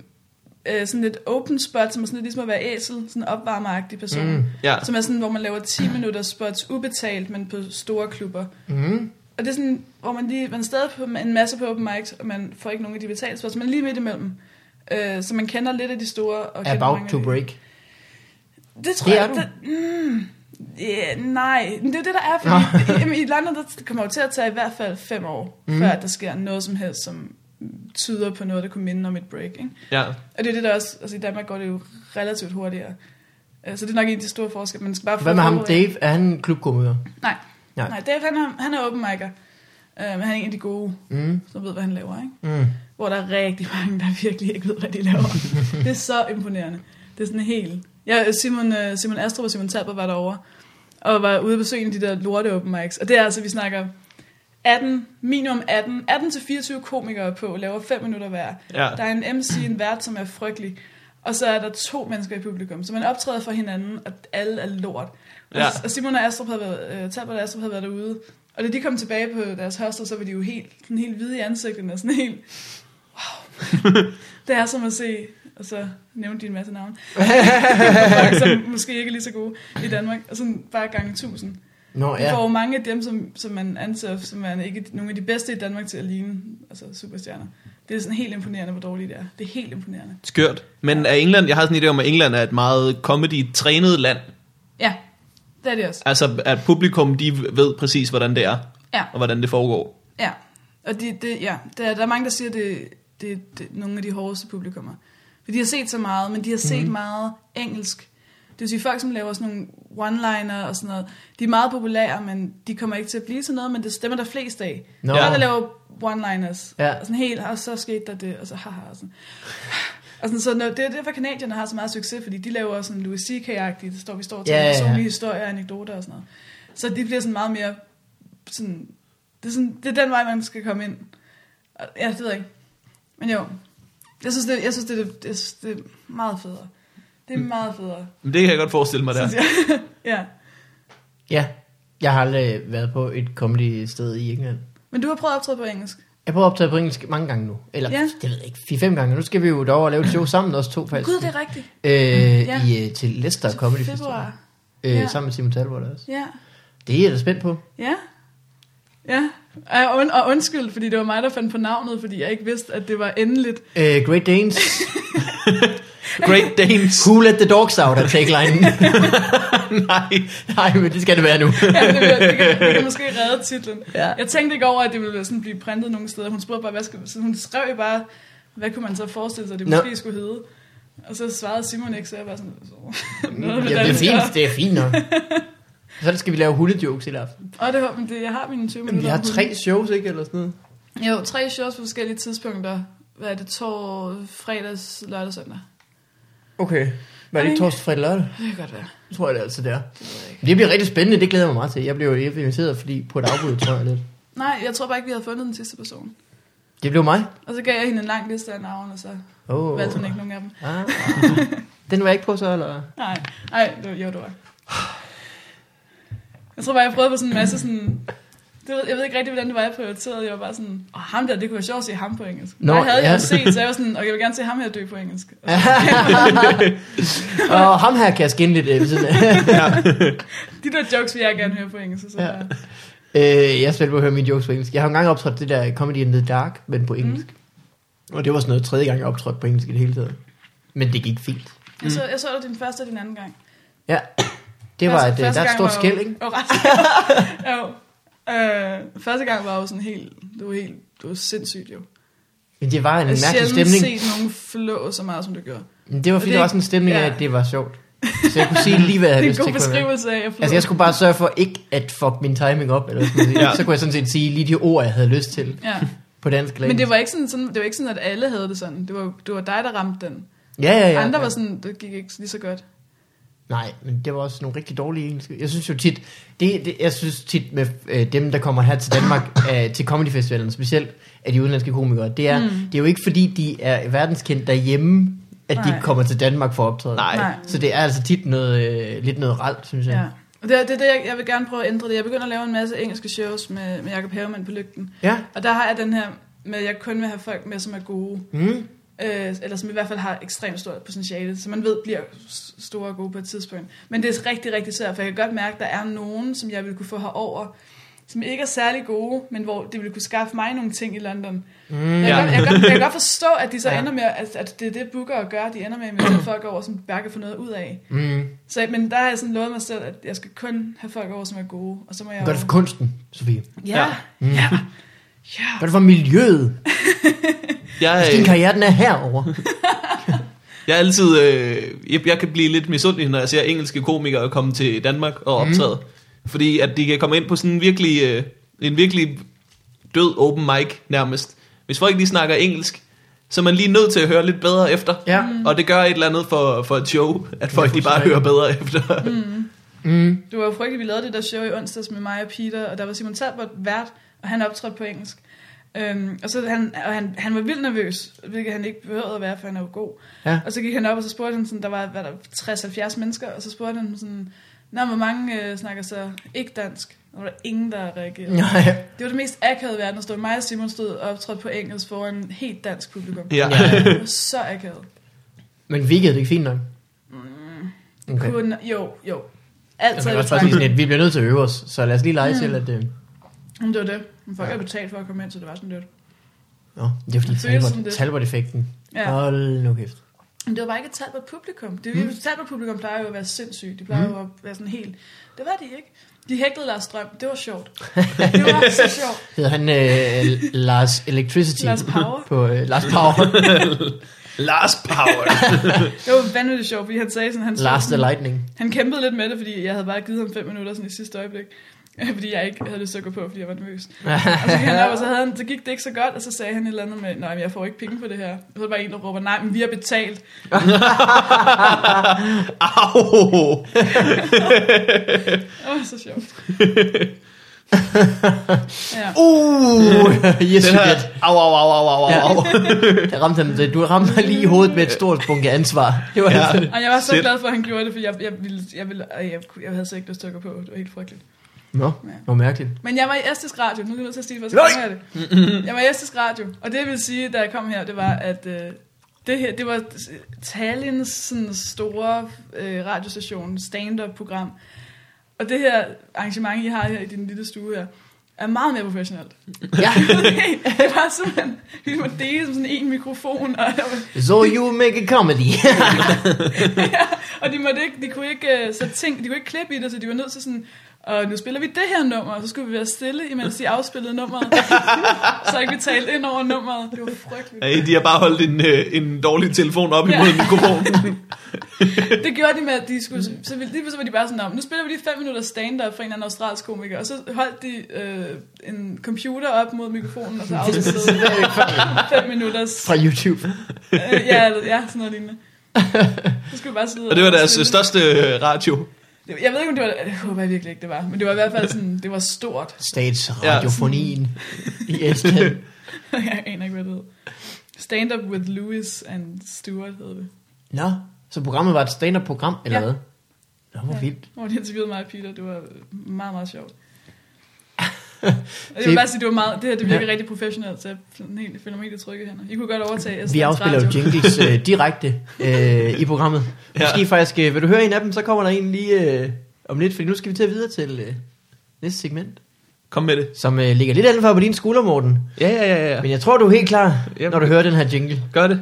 S3: øh, sådan lidt open spot, som er sådan lidt ligesom at være æsel, sådan en opvarmeragtig person. Mm.
S1: Ja.
S3: Som er sådan, hvor man laver 10 minutter spots ubetalt, men på store klubber. Mm. Og det er sådan, hvor man lige, man er stadig på en masse på open mics, og man får ikke nogen af de betalte spots, men lige midt imellem. Øh, så man kender lidt af de store. Og kender
S2: About
S3: mange af
S2: to
S3: de-
S2: break.
S3: det tror
S2: Det er
S3: jeg,
S2: du.
S3: Det, mm, yeah, nej, Men det er jo det, der er, fordi i, jamen, i London, der kommer jo til at tage i hvert fald fem år, mm. før at der sker noget som helst, som tyder på noget, der kunne minde om et break. Ikke?
S1: Ja.
S3: Og det er det, der også, altså i Danmark går det jo relativt hurtigere. Øh, Så det er nok en af de store forskelle, man skal bare få
S2: Hvad med ham,
S3: forberedt.
S2: Dave? Er han klubkomiker?
S3: Nej,
S2: Nej.
S3: nej. nej Dave, han er, han er open mic'er. Øh, men han er en af de gode,
S2: Mm.
S3: som ved, hvad han laver. Ikke?
S2: Mm.
S3: Hvor der er rigtig mange, der virkelig ikke ved, hvad de laver. det er så imponerende. Det er sådan helt... Ja, Simon, øh, Simon Astrup og Simon Talber var derovre, og var ude og besøge en af de der lorte open mics. Og det er altså, vi snakker 18, minimum 18, 18-24 komikere på, laver 5 minutter hver.
S1: Ja.
S3: Der er en MC, en vært, som er frygtelig. Og så er der to mennesker i publikum, så man optræder for hinanden, og alle er lort. Og,
S1: Ja.
S3: ja. og Simon og Astrup havde været, øh, Talbot og Astrup havde været derude, og da de kom tilbage på deres hostel, så var de jo helt, sådan helt hvide i ansigtet, og sådan helt, wow, det er som at se, og så nævnte de en masse navne, folk, som måske ikke er lige så gode i Danmark, og sådan bare gange tusind.
S2: Nå
S3: Vi
S2: ja.
S3: får jo mange af dem, som, som man anser som værende ikke nogle af de bedste i Danmark til at ligne altså superstjerner. Det er sådan helt imponerende, hvor dårlige det er. Det er helt imponerende.
S1: Skørt. Men er England, jeg har sådan en idé om, at England er et meget comedy-trænet land.
S3: Ja, det er det også.
S1: Altså, at publikum, de ved præcis, hvordan det er,
S3: Ja,
S1: og hvordan det foregår.
S3: ja. Og det, det, ja. Der, er- der er mange, der siger, at det, det, det er nogle af de hårdeste publikummer. For de har set så meget, men de har
S2: Mhm.
S3: set mm. meget engelsk. Det vil sige, folk, som laver sådan nogle one-liner og sådan noget, de er meget populære, men de kommer ikke til at blive til noget, men det stemmer der flest af.
S2: Nå.
S3: Nå. Folk, der laver one-liners,
S2: Ja.
S3: ja. og sådan helt, og så skete der det, og så haha, og sådan. Og sådan, så når, det er derfor, kanadierne har så meget succes, fordi de laver sådan Louis C.K.-agtigt, det står, vi står til
S2: Ja, ja,
S3: yeah,
S2: ja.
S3: personlige historier og anekdoter og sådan noget. Så det bliver sådan meget mere sådan, det er, sådan, det er den vej, man skal komme ind. Og, ja, det ved jeg ikke. Men jo, jeg synes, det, jeg synes, det, det, jeg synes, det er meget federe. Det er meget federe,
S1: Men det kan jeg godt forestille mig der.
S3: synes jeg. ja.
S2: ja. Jeg har aldrig været på et comedy sted i England.
S3: Men du har prøvet at optræde på engelsk.
S2: Jeg prøver at optage på engelsk mange gange nu. Eller,
S3: Ja.
S2: ja. det ved jeg ikke, 4-5 gange. Nu skal vi jo derover og lave et show sammen, også to faktisk.
S3: Gud, det er rigtigt.
S2: øh,
S3: Ja.
S2: ja. i, øh, til Leicester
S3: Til
S2: Comedy
S3: februar.
S2: Festival. Øh,
S3: Ja.
S2: ja. Sammen med Simon Talbot også.
S3: Ja.
S2: Det er jeg da spændt på.
S3: Ja. Ja. Og, und, og undskyld, fordi det var mig, der fandt på navnet, fordi jeg ikke vidste, at det var endeligt.
S2: Øh, Great Danes.
S1: Great Danes.
S2: Who let the dogs out af tagline?
S1: Nej.
S2: Nej, men det skal det være nu.
S3: Ja, det, bliver- det, kan, det kan måske redde titlen.
S2: Ja.
S3: Jeg tænkte ikke over, at det ville sådan blive printet nogle steder. Hun spurgte bare, hvad skal, så hun skrev jo bare, hvad kunne man så forestille sig, det
S2: Nå.
S3: måske skulle hedde. Og så svarede Simon ikke, så jeg var sådan... Så, noget med
S2: ja, det er
S3: danskere.
S2: fint, det er fint nok. Så skal vi lave hundejokes i dag.
S3: Og det, var- men det, jeg har mine 20
S2: Men
S3: minutter.
S2: vi har
S3: om hunden.
S2: tre shows, ikke? Eller sådan noget.
S3: Jo, tre shows på forskellige tidspunkter. Hvad er det? Tor, fredags, lørdag, søndag.
S2: Okay. Var det ikke
S3: Ej.
S2: torsdag, fredag, lørdag?
S3: Det kan godt være.
S2: Det tror jeg, det er altså der. Det bliver rigtig spændende, det glæder jeg mig meget til. Jeg blev jo inviteret fordi på et afbud, tror jeg lidt.
S3: Nej, jeg tror bare ikke, vi havde fundet den sidste person.
S2: Det blev mig.
S3: Og så gav jeg hende en lang liste af navne, og så
S2: Oh.
S3: valgte hun ikke nogen af dem.
S2: Ah. Den var jeg ikke på så, eller?
S3: Nej, nej, det var, jo, det var. Jeg tror bare, jeg prøvede på sådan en masse sådan... Det ved, jeg ved ikke rigtig, hvordan det var, jeg prioriterede. Jeg var bare sådan, åh, ham der, det kunne være sjovt at se ham på engelsk.
S2: Nå,
S3: Nå, jeg havde
S2: ja.
S3: jeg jo set, så jeg var sådan, og jeg vil gerne se ham her dø på engelsk. Og så,
S2: Og ham her kan jeg skinne lidt øh, ved siden af.
S3: de der jokes vil jeg gerne høre på engelsk. og Så
S2: Ja.
S3: ja.
S2: Øh, jeg er spændt på at høre mine jokes på engelsk. Jeg har jo engang optrådt det der Comedy in the Dark, men på engelsk. Mm. Og det var sådan noget tredje gang, jeg optrådte på engelsk i det hele taget. Men det gik fint.
S3: jeg, så, jeg så dig din første og din anden gang. Altså,
S2: Ja, det var, at
S3: første,
S2: øh, der er et
S3: gang
S2: stort
S3: var jo-
S2: skæld, ikke?
S3: Jo, ret. jo. Øh, første gang var jo sådan helt, det var helt, det var sindssygt jo.
S2: Men det var en
S3: Jeg har
S2: mærkelig
S3: sjældent
S2: stemning.
S3: set nogen flå så meget, som du gjorde.
S2: Men det var fordi,
S3: det-
S2: der var sådan en stemning af,
S3: ja.
S2: at det var sjovt. Så jeg kunne sige lige, hvad jeg havde
S3: Det er en
S2: lyst til.
S3: god
S2: kunne jeg mærke.
S3: beskrivelse af, at jeg flå.
S2: Altså, jeg skulle bare sørge for ikke at fuck min timing op, eller hvad skal man sige.
S1: Ja.
S2: Så kunne jeg sådan set sige lige de ord, jeg havde lyst til
S3: Ja.
S2: på dansk eller
S3: Men det
S2: engelsk.
S3: var, ikke sådan, sådan, det var ikke sådan, at alle havde det sådan. Det var, det var dig, der ramte den.
S2: ja, ja, ja,
S3: Andre
S2: ja.
S3: var sådan, det gik ikke lige så godt.
S2: Nej, men det var også nogle rigtig dårlige engelske. Jeg synes jo tit, det, det, jeg synes tit med øh, dem, der kommer her til Danmark øh, til Comedy Festivalen, specielt af de udenlandske komikere, det er, mm. det er jo ikke fordi, de er verdenskendt derhjemme, at de
S3: Nej.
S2: kommer til Danmark for at optræde.
S1: Nej.
S3: Nej.
S2: Så det er altså tit noget, øh, lidt noget ralt, synes jeg.
S3: Ja. Og det er det, er det jeg, jeg vil gerne prøve at ændre det. Jeg begynder at lave en masse engelske shows med, med Jacob Havemann på lygten.
S2: Ja.
S3: Og der har jeg den her med, at jeg kun vil have folk med, som er gode.
S2: Mm.
S3: Øh, eller som i hvert fald har ekstremt stort potentiale, som man ved bliver s- store og gode på et tidspunkt. Men det er rigtig, rigtig svært, for jeg kan godt mærke, at der er nogen, som jeg ville kunne få herover, som ikke er særlig gode, men hvor det ville kunne skaffe mig nogle ting i London. Mm, jeg, kan
S1: ja.
S3: godt, jeg, kan godt, jeg kan godt forstå, at de så
S2: Ja.
S3: ja. ender med, at, at det er det, booker og gør, de ender med at invitere folk over, som de bare kan få noget ud af.
S2: Mm.
S3: Så, men der har jeg sådan lovet mig selv, at jeg skal kun have folk over, som er gode, og så må jeg
S2: Gør det for kunsten, Sofie.
S3: Ja, ja.
S2: Mm. Ja. Gør det for miljøet.
S1: Jeg,
S2: Din
S1: øh,
S2: karriere, den er herovre.
S1: jeg er altid... Øh, jeg, jeg kan blive lidt misundelig, når jeg ser engelske komikere komme til Danmark og
S2: Mhm.
S1: optræde. Mm. Fordi at de kan komme ind på sådan en virkelig... Øh, en virkelig død open mic nærmest. Hvis folk lige snakker engelsk, så er man lige nødt til at høre lidt bedre efter.
S2: Ja.
S1: Og det gør et eller andet for, for et show, at folk de bare hører bedre efter.
S2: Mm.
S3: Det var jo frygteligt, vi lavede det der show i onsdags med mig og Peter, og der var Simon Talbot vært, og han optrådte på engelsk. Øhm, og så han, og han, han var vildt nervøs, hvilket han ikke behøvede at være, for han er jo god.
S2: Ja.
S3: Og så gik han op, og så spurgte han, sådan, der var hvad der, 60-70 mennesker, og så spurgte han sådan, Nå, hvor mange øh, snakker så ikke dansk? Og der var ingen, der reagerede. Ja.
S2: Nej.
S3: Det var det mest akavede i verden, at stå mig og Simon stod og optrådte på engelsk foran en helt dansk publikum.
S1: Ja.
S2: Ja.
S3: Det var så akavet.
S2: Men virkede det ikke fint nok? Okay.
S3: Kun, jo, jo.
S2: Jeg
S3: Altid
S2: kan
S3: er det
S2: også bare sige
S3: faktisk.
S2: sådan, at vi bliver nødt til at øve os, så lad os lige lege mm. til, at... Øh...
S3: Men det var det. Men folk ja. havde betalt for at komme ind, så det var sådan lidt.
S2: Nå, det er fordi
S3: Det føles sådan
S2: Talbot,
S3: lidt.
S2: Talbot-effekten. Ja.
S3: Ja.
S2: Hold nu kæft.
S3: Men det var bare ikke et talt på publikum. Det mm. talt publikum plejer jo at være sindssygt. De plejer jo at være sådan helt... Det var de ikke. De hægtede Lars Strøm. Det var sjovt. Det var så sjovt.
S2: Hedder han øh, Lars Electricity?
S3: Lars Power.
S2: På, øh, Lars Power.
S1: Lars Power.
S3: Det var vanvittigt sjovt, fordi han sagde sådan... Han,
S2: Lars The Lightning.
S3: han kæmpede lidt med det, fordi jeg havde bare givet ham fem minutter sådan i sidste øjeblik. Fordi jeg ikke havde lyst til at gå på, fordi jeg var nervøs. Og så, gik han op, og så, havde han, så gik det ikke så godt, og så sagde han et eller andet med, nej, men jeg får ikke penge for det her. Og så var der bare en, der råber, nej, men vi har betalt.
S1: Au.
S3: Åh, oh, så sjovt. ja.
S2: Uh, yes,
S1: Den
S2: you
S1: her.
S2: did.
S1: Au, au, au, au, au,
S2: Ja.
S1: au.
S2: Der ramte han det. Du ramte mig lige i hovedet med et stort bunke ansvar. Det var
S1: Ja.
S2: altså,
S3: Og jeg var så
S1: Shit.
S3: glad for, at han gjorde det, for jeg, jeg, ville, jeg, ville, jeg, jeg, kunne- jeg havde så ikke lyst til at gå på. Det var helt frygteligt.
S2: Nå, hvor mærkeligt.
S3: Men jeg var i Estes Radio. Nu er jeg nødt til at sige, hvor så er det. Jeg var i Estes Radio. Og det jeg ville sige, da jeg kom her, det var, at øh, det her, det var Tallinns sådan, store øh, radiostation, stand-up-program. Og det her arrangement, I har her i din lille stue her, er meget mere professionelt.
S2: Ja.
S3: det var simpelthen, vi måtte dele som sådan en mikrofon, og der var
S2: So you make a comedy.
S3: Og de, måtte ikke, de kunne ikke uh, sætte ting, de kunne ikke klippe i det, så de var nødt til sådan, og nu spiller vi det her nummer, og så skulle vi være stille, imens de afspillede nummeret, så ikke vi talte ind over nummeret. Det var frygteligt.
S1: Ej, de har bare holdt en, øh, en dårlig telefon op imod
S3: Ja.
S1: mikrofonen.
S3: Det gjorde de med, at de skulle, så ville- lige pludselig var de bare sådan, "Nå, nu spiller vi lige fem minutter stand-up fra en eller anden australsk komiker, og så holdt de øh, en computer op mod mikrofonen, og så afspillede fem minutters,
S2: Fra YouTube.
S3: øh, ja, eller- ja, sådan noget lignende. Så skulle vi bare sidde
S1: Og det var deres øh,
S3: afspille.
S1: største øh, radio.
S3: Det- Jeg ved ikke, om det var, jeg håber jeg virkelig ikke, det var, men det var i hvert fald sådan, det var stort.
S2: Statsradiofonien i Estland.
S3: jeg aner ikke, hvad det hed. Stand Up with Lewis and Stewart hed det.
S2: Nå, så programmet var et stand-up-program, eller
S3: Ja.
S2: hvad? Nå, hvor
S3: Ja.
S2: vildt.
S3: Hvor de interviewede mig og Peter. Det var meget, meget sjovt. Og jeg vil bare sige, det, var meget, det her det virker
S2: Ja.
S3: ja. rigtig professionelt, så jeg sådan helt, føler mig helt i trygge hænder. I kunne godt overtage Estlands
S2: Vi afspiller jo
S3: Radio.
S2: jingles øh, direkte øh, i programmet.
S1: Ja.
S2: Måske faktisk, øh, vil du høre en af dem, så kommer der en lige øh, om lidt, fordi nu skal vi til at videre til øh, næste segment,
S1: Kom med det.
S2: som øh, ligger lidt andet for på din skulder, Morten.
S1: Ja, ja, ja, ja.
S2: Men jeg tror, du er helt klar,
S1: Jamen,
S2: når du
S1: det-
S2: hører den her jingle.
S1: Gør det.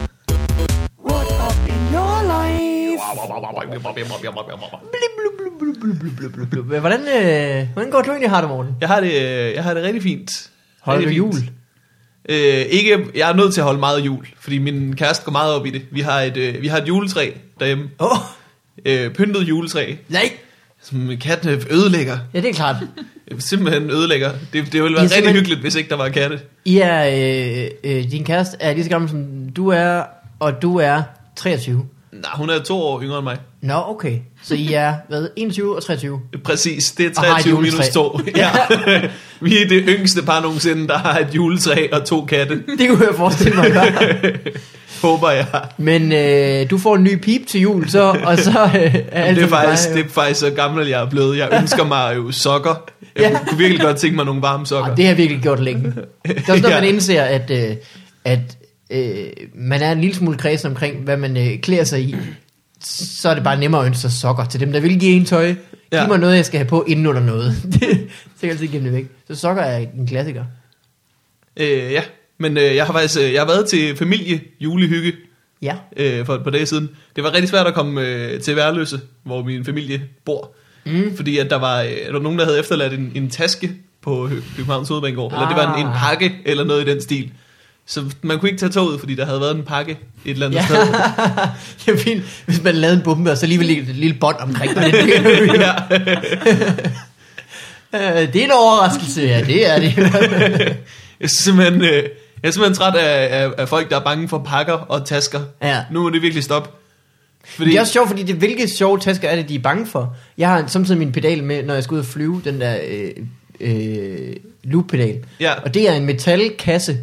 S4: What up in your life?
S2: Men Hvordan, øh, hvordan går du egentlig har det, Morten?
S1: Jeg har det, øh, jeg har det rigtig fint.
S2: Holder du
S1: Rigtig
S2: jul?
S1: fint. Øh, ikke, jeg er nødt til at holde meget jul, fordi min kæreste går meget op i det. Vi har et, øh, vi har et juletræ derhjemme.
S2: Åh, oh,
S1: Øh, pyntet juletræ,
S2: nej.
S1: som katten ødelægger.
S2: Ja, det er klart.
S1: Øh, Simpelthen ødelægger. Det, det ville
S2: Ja,
S1: være rigtig
S2: simpelthen.
S1: hyggeligt, hvis ikke der var katte.
S2: I er, øh, øh, din kæreste er lige så gammel, som du er, og du er 23.
S1: Nej, hun er to år yngre end mig.
S2: Nå, okay. Så I er, hvad, 21 og 23?
S1: Præcis, det er
S2: Og har et
S1: 23 minus
S2: juletræ.
S1: 2. Ja. Vi er det yngste par nogensinde, der har et juletræ og to katte,
S2: Det kunne jeg forestille mig. Bare.
S1: håber jeg.
S2: Men øh, du får en ny pip til jul, så, og så øh, er
S1: Jamen,
S2: alt
S1: det, er
S2: som plejer,
S1: faktisk,
S2: jo.
S1: det er faktisk så gammel, jeg er blevet. Jeg ønsker mig jo sokker. Jeg
S2: Ja.
S1: ja. kunne virkelig godt tænke mig nogle varme sokker.
S2: Og Ah, det har jeg virkelig gjort længe. Det er også, når
S1: Ja.
S2: man indser, at, øh, at øh, man er en lille smule kreds omkring, hvad man øh, klæder sig i, så er det bare nemmere at ønske sig sokker til dem, der vil give en tøj. Ja. Giv
S1: Ja.
S2: mig noget, jeg skal have på inden under noget. det, så kan jeg altid give det væk. Så sokker er en klassiker.
S1: Øh, ja, men øh, jeg har faktisk øh, jeg har været til familie julehygge
S2: Ja.
S1: øh, for et par dage siden. Det var rigtig svært at komme øh, til Værløse, hvor min familie bor. Mm. Fordi at der var, øh, der var nogen, der havde efterladt en, en taske på Hø- Københavns Hovedbanegård. Eller det var en, en
S2: Ah.
S1: pakke eller noget i den stil. Så man kunne ikke tage toget, fordi der havde været en pakke et eller andet
S2: Ja.
S1: ja. sted.
S2: det er fint, hvis man lavede en bombe, og så alligevel ligger et lille bånd omkring det.
S1: ja.
S2: Øh, det er en overraskelse, ja, det er det.
S1: Jeg er simpelthen, øh, jeg er simpelthen træt af, af, af folk, der er bange for pakker og tasker.
S2: Ja.
S1: Nu må det virkelig stoppe. Fordi,
S2: Det er også sjovt, fordi det, hvilke sjove tasker er det, de er bange for? Jeg har samtidig min pedal med, når jeg skal ud og flyve, den der øh, øh, loop-pedal.
S1: Ja.
S2: Og det er en metalkasse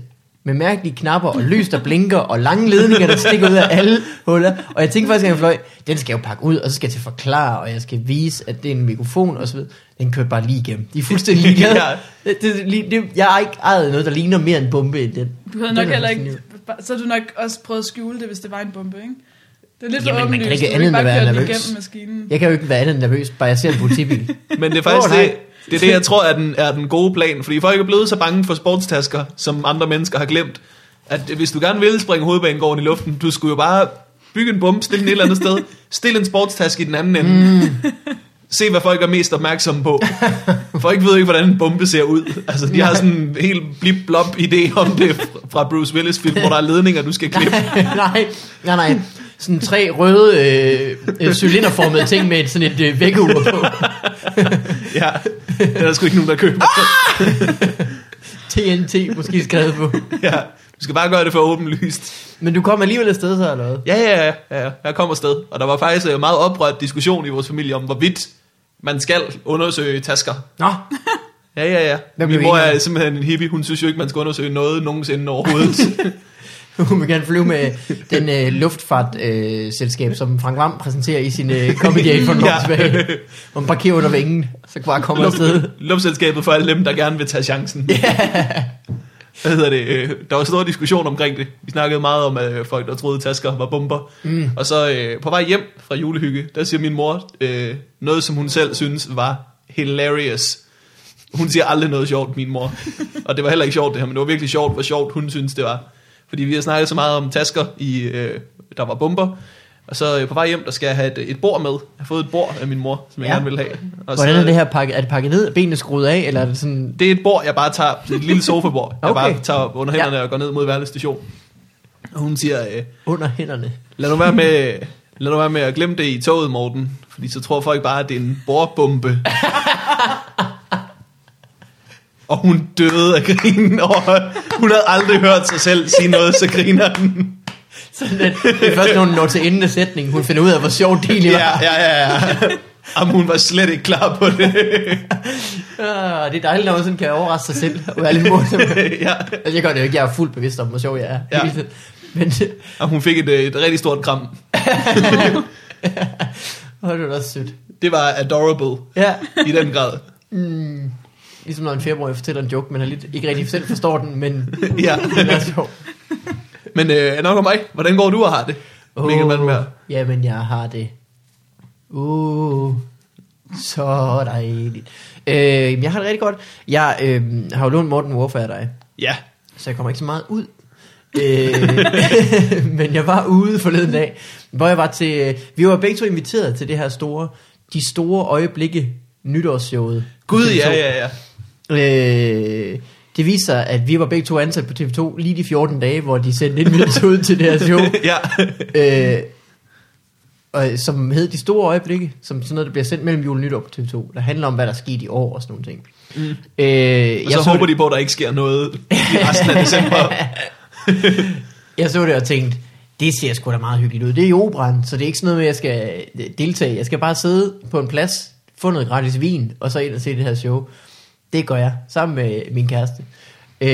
S2: med mærkelige knapper og lys, der blinker, og lange ledninger, der stikker ud af alle huller. Og jeg tænkte faktisk, at jeg fløj, den skal jeg jo pakke ud, og så skal jeg til at forklare, og jeg skal vise, at det er en mikrofon og så videre. Den kører bare lige igennem. De er fuldstændig ligeglade.
S1: Ja.
S2: det, det, det, det, jeg har ikke ejet noget, der ligner mere en bombe end den.
S3: Du havde
S2: Den
S3: nok
S2: er
S3: heller
S2: fuldstændig-
S3: ikke... Så havde du nok også prøvet at skjule det, hvis det var en bombe, ikke? Det er lidt
S2: Jamen, man kan
S3: åbenlyst.
S2: ikke
S3: Du
S2: andet end
S3: bare
S2: at være
S3: køre den
S2: nervøs.
S3: igennem maskinen.
S2: Jeg kan jo ikke være andet end nervøs, bare jeg ser en politibil.
S1: men det er faktisk
S2: Åh, nej.
S1: det, det, er det, jeg tror er den, er den gode plan. Fordi folk er blevet så bange for sportstasker, som andre mennesker har glemt, at hvis du gerne ville springe hovedbanegården i luften, du skulle jo bare bygge en bombe, stille den et eller andet sted, stille en sportstaske i den anden ende. Mm. Se, hvad folk er mest opmærksomme på. Folk ved ikke, hvordan en bombe ser ud. Altså, de har sådan en helt blip-blop idé om det fra Bruce Willis-film, hvor der er ledninger, du skal klippe.
S2: nej, nej, nej. Sådan tre røde øh, øh, cylinderformede ting med et, sådan et øh, vækkeur på.
S1: Ja, der er sgu ikke nogen, der køber.
S2: TNT måske skrevet på.
S1: Ja. Du skal bare gøre det for åbenlyst.
S2: Men du kom alligevel afsted så, eller hvad?
S1: Ja, ja, ja, ja, ja. Jeg kom afsted. Og der var faktisk øh, meget oprørt diskussion i vores familie om, hvorvidt man skal undersøge tasker.
S2: Nå,
S1: Ja, ja, ja.
S2: Hvad blev
S1: Min mor
S2: I enige
S1: er
S2: om?
S1: simpelthen en hippie. Hun synes jo ikke, man skal undersøge noget nogensinde overhovedet.
S2: hun vil gerne flyve med den øh, luftfartselskab, øh, selskab, som Frank Vam præsenterer i sin øh, comedy aid for nogle
S1: Ja.
S2: år tilbage. Hvor man parkerer under vingen, så bare kommer afsted.
S1: Luftselskabet for alle dem, der gerne vil tage chancen. Yeah. Hvad hedder det? øh, Der var stor diskussion omkring det. Vi snakkede meget om, at øh, folk, der troede, tasker var bomber. Mm. Og så øh, på vej hjem fra julehygge, der siger min mor øh, noget, som hun selv synes var hilarious. Hun siger aldrig noget sjovt, min mor. Og det var heller ikke sjovt det her, men det var virkelig sjovt, hvor sjovt hun synes det var. Fordi vi har snakket så meget om tasker, i, øh, der var bomber. Og så øh, på vej hjem, der skal jeg have et, et bord med. Jeg har fået et bord af min mor, som jeg
S2: Ja.
S1: ja. gerne vil have. Og
S2: Hvordan
S1: så,
S2: er det her pakket? Er det pakket ned? Er benene skruet af? Eller er det sådan...
S1: det er et bord, jeg bare tager, et lille sofabord, okay. jeg
S2: Okay.
S1: bare tager op under hænderne ja. og går ned mod Værle station. Og hun siger, øh,
S2: Under hænderne.
S1: lad nu være med, lad nu være med at glemme det i toget, Morten, fordi så tror folk bare, at det er en bordbombe. og hun døde af grinen, og hun havde aldrig hørt sig selv sige noget, så griner den.
S2: Sådan at det er først, når hun når til enden af sætningen, hun finder ud af, hvor sjovt det egentlig var.
S1: Ja, ja, ja, ja. Jamen, hun var slet ikke klar på det.
S2: Ah, det er dejligt, når man sådan kan overraske sig selv og være lidt morsom.
S1: ja.
S2: altså, jeg gør det jo ikke. Jeg er fuldt bevidst om, hvor sjov jeg er.
S1: Ja.
S2: hele tiden. Men
S1: Og hun fik et, øh, et rigtig stort kram.
S2: åh, det var da også sødt.
S1: Det var adorable
S2: Ja,
S1: i den grad.
S2: mm, ligesom når en femårig fortæller en joke, men har lidt, ikke rigtig selv forstår den, men
S1: Ja.
S2: den er sjov.
S1: Men øh, nok om mig. Hvordan går du og har det? Oh. Mikkel Malmberg.
S2: Jamen, jeg har det. Uh, så dejligt. Øh, jamen, jeg har det rigtig godt. Jeg øh, har jo lånt Morten Warfare af dig.
S1: Ja.
S2: så jeg kommer ikke så meget ud. øh, men jeg var ude forleden dag, hvor jeg var til, øh, vi var begge to inviteret til det her store, de store øjeblikke nytårsshowet. på
S1: Gud,
S2: TV2.
S1: ja, ja, ja.
S2: Øh, det viser sig, at vi var begge to ansat på TV2 lige de 14 dage, hvor de sendte en minutter ud til det her show.
S1: ja.
S2: Øh, og, som hed De Store Øjeblikke, som sådan noget, der bliver sendt mellem jul og nytår på TV2, der handler om, hvad der skete i år og sådan nogle ting. Mm. Øh, jeg
S1: Og så håber de på, at der ikke sker noget i resten af december.
S2: jeg så det og tænkte, det ser sgu da meget hyggeligt ud. Det er i operan, så det er ikke sådan noget med, at jeg skal øh, deltage. Jeg skal bare sidde på en plads, få noget gratis vin, og så ind og se det her show. Det gør jeg, sammen med min kæreste. Øh,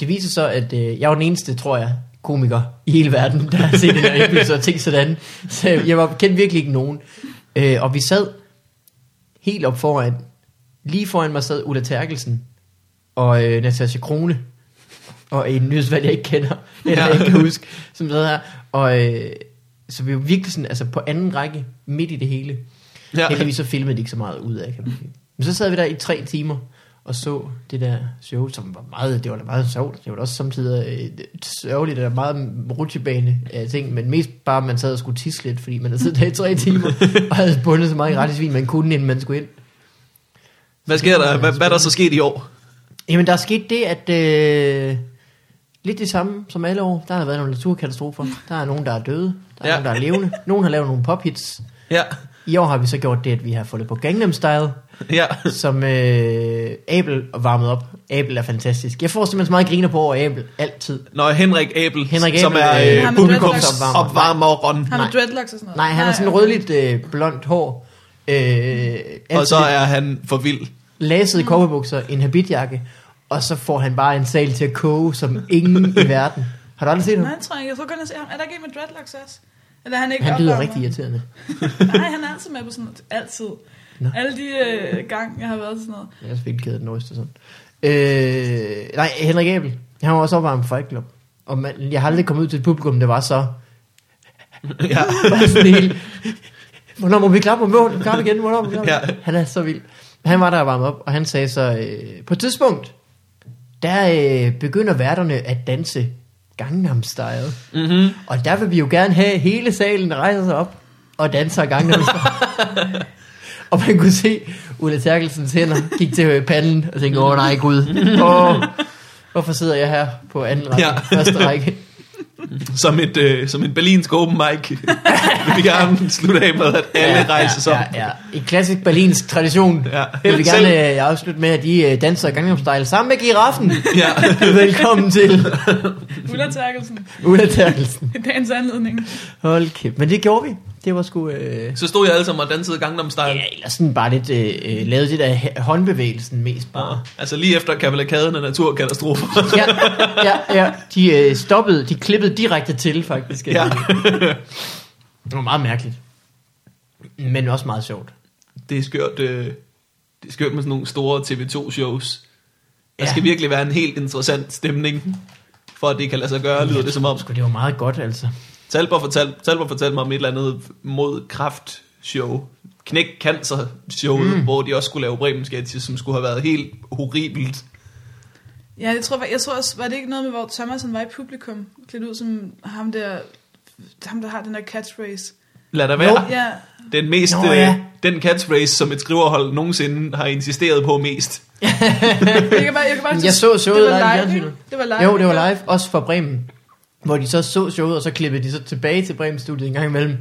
S2: det viser så, at øh, jeg var den eneste, tror jeg, komiker i hele verden, der har set den her episode og tænkt sådan. Så jeg var kendt virkelig ikke nogen. Øh, og vi sad helt op foran, lige foran mig sad Ulla Terkelsen og øh, Natasha Krone, og en nyhedsvalg, jeg ikke kender, eller
S1: Ja.
S2: ja. ikke kan huske, som sad her. Og, øh, så vi var virkelig sådan, altså på anden række, midt i det hele.
S1: Ja.
S2: Ja. Heldigvis så filmede de ikke så meget ud af, kan man sige. Men så sad vi der i tre timer, og så det der show, som var meget, det var da meget sjovt. Det var da også samtidig øh, sørgeligt, og der var meget rutsjebane af ting, men mest bare, at man sad og skulle tisse lidt, fordi man havde siddet der i tre timer, og havde bundet så meget gratis vin, man kunne, inden man skulle ind.
S1: Hvad sker der? Hvad, hvad er der så sket i år?
S2: Jamen, der er sket det, at øh, lidt det samme som alle år, der har været nogle naturkatastrofer. Der er nogen, der er døde. Der er ja.
S1: Ja.
S2: nogen, der er levende. Nogen har lavet nogle pophits.
S1: Ja.
S2: I år har vi så gjort det, at vi har fundet på Gangnam Style,
S1: Ja.
S2: som øh, Abel varmede op. Abel er fantastisk. Jeg får simpelthen så meget griner på over Abel, altid.
S1: Når Henrik Abel,
S2: Henrik
S1: som
S2: Abel, øh,
S1: er
S3: ham
S1: øh,
S3: med
S1: publikumsopvarmeren,
S3: Han har
S2: Nej.
S3: dreadlocks og sådan noget.
S2: Nej, han har sådan rødligt øh, blondt hår. Øh,
S1: og
S2: altid
S1: så er han for vild.
S2: lasede kobberbukser, en habitjakke, og så får han bare en sal til at koge som ingen i verden. Har du aldrig set ham?
S3: Nej, jeg tror jeg ikke. Jeg tror kun, jeg ser ham. Er der ikke en med dreadlocks også? Eller er han ikke
S2: Han lyder
S3: opvarmer?
S2: rigtig irriterende.
S3: Nej, han er altid med på sådan noget. Altid.
S2: Nå.
S3: Alle de øh, gange, jeg har været til sådan noget.
S2: Jeg er selvfølgelig ked af den øst og sådan. Øh, nej, Henrik Abel, han var også opvarmet for Fight Club. Og man, jeg har aldrig kommet ud til et publikum, der var så...
S1: Ja.
S2: Bare sådan helt, Hvornår må vi klappe om mål? Klap igen, hvornår må vi klappe?
S1: Ja.
S2: Ja. Han er så vild. Han var der og varme op, og han sagde så... Øh, på et tidspunkt, der øh, begynder værterne at danse Gangnam Style.
S1: Mm-hmm.
S2: Og der vil vi jo gerne have, at hele salen rejser sig op og danser Gangnam Style. og man kunne se Ulla Terkelsens hænder gik til panden og tænkte, åh nej gud, åh, hvorfor sidder jeg her på anden række,
S1: Ja.
S2: ja. første række?
S1: Som, et, øh, som en berlinsk open mic. vil vi gerne slutte af med, at alle ja, rejser sig
S2: ja, ja, ja. I klassisk berlinsk tradition
S1: Ja.
S2: vil vi
S1: Selv-
S2: gerne øh, afslutte med, at de øh, danser Gangnam Style sammen med giraffen.
S1: ja.
S2: Velkommen til
S3: Ulla Terkelsen.
S2: Ulla Terkelsen.
S3: I dagens anledning.
S2: Hold kæft. Men det gjorde vi. Det var sgu... Øh...
S1: Så stod jeg alle sammen og dansede Gangnam Style.
S2: Ja, eller sådan bare lidt øh, øh, lavede det der hæ- håndbevægelsen mest bare.
S1: Ja. Altså lige efter kavalkaden af naturkatastrofer.
S2: ja, ja, ja. De øh, stoppede, de klippede direkte til, faktisk.
S1: ja.
S2: Det var meget mærkeligt. Men også meget sjovt.
S1: Det er skørt, øh, det er skørt med sådan nogle store TV2-shows. Der
S2: Ja.
S1: skal virkelig være en helt interessant stemning, for at det kan lade sig gøre, lyder det som om.
S2: Sgu, det var meget godt, altså.
S1: Talbot fortalte, Talbot fortalte mig om et eller andet mod kraft show. Knæk cancer showet, mm. hvor de også skulle lave bremen sketches, som skulle have været helt horribelt.
S3: Ja, jeg tror, jeg tror også, var det ikke noget med, hvor Thomasen var i publikum, klædt ud som ham der, ham der har den der catchphrase.
S1: Lad der være.
S3: Ja,
S1: Den mest,
S2: Nå,
S1: Nå, ja.
S2: ja.
S1: øh, den catchphrase, som et skriverhold nogensinde har insisteret på mest.
S3: jeg kan bare, jeg kan bare
S2: Jeg så showet
S3: det
S2: live i
S3: var live, ikke?
S2: fjernsynet.
S3: Det var live.
S2: Jo, det
S3: ikke?
S2: var live, også fra Bremen. Hvor de så så showet, og så klippede de så tilbage til Bremen-studiet en gang imellem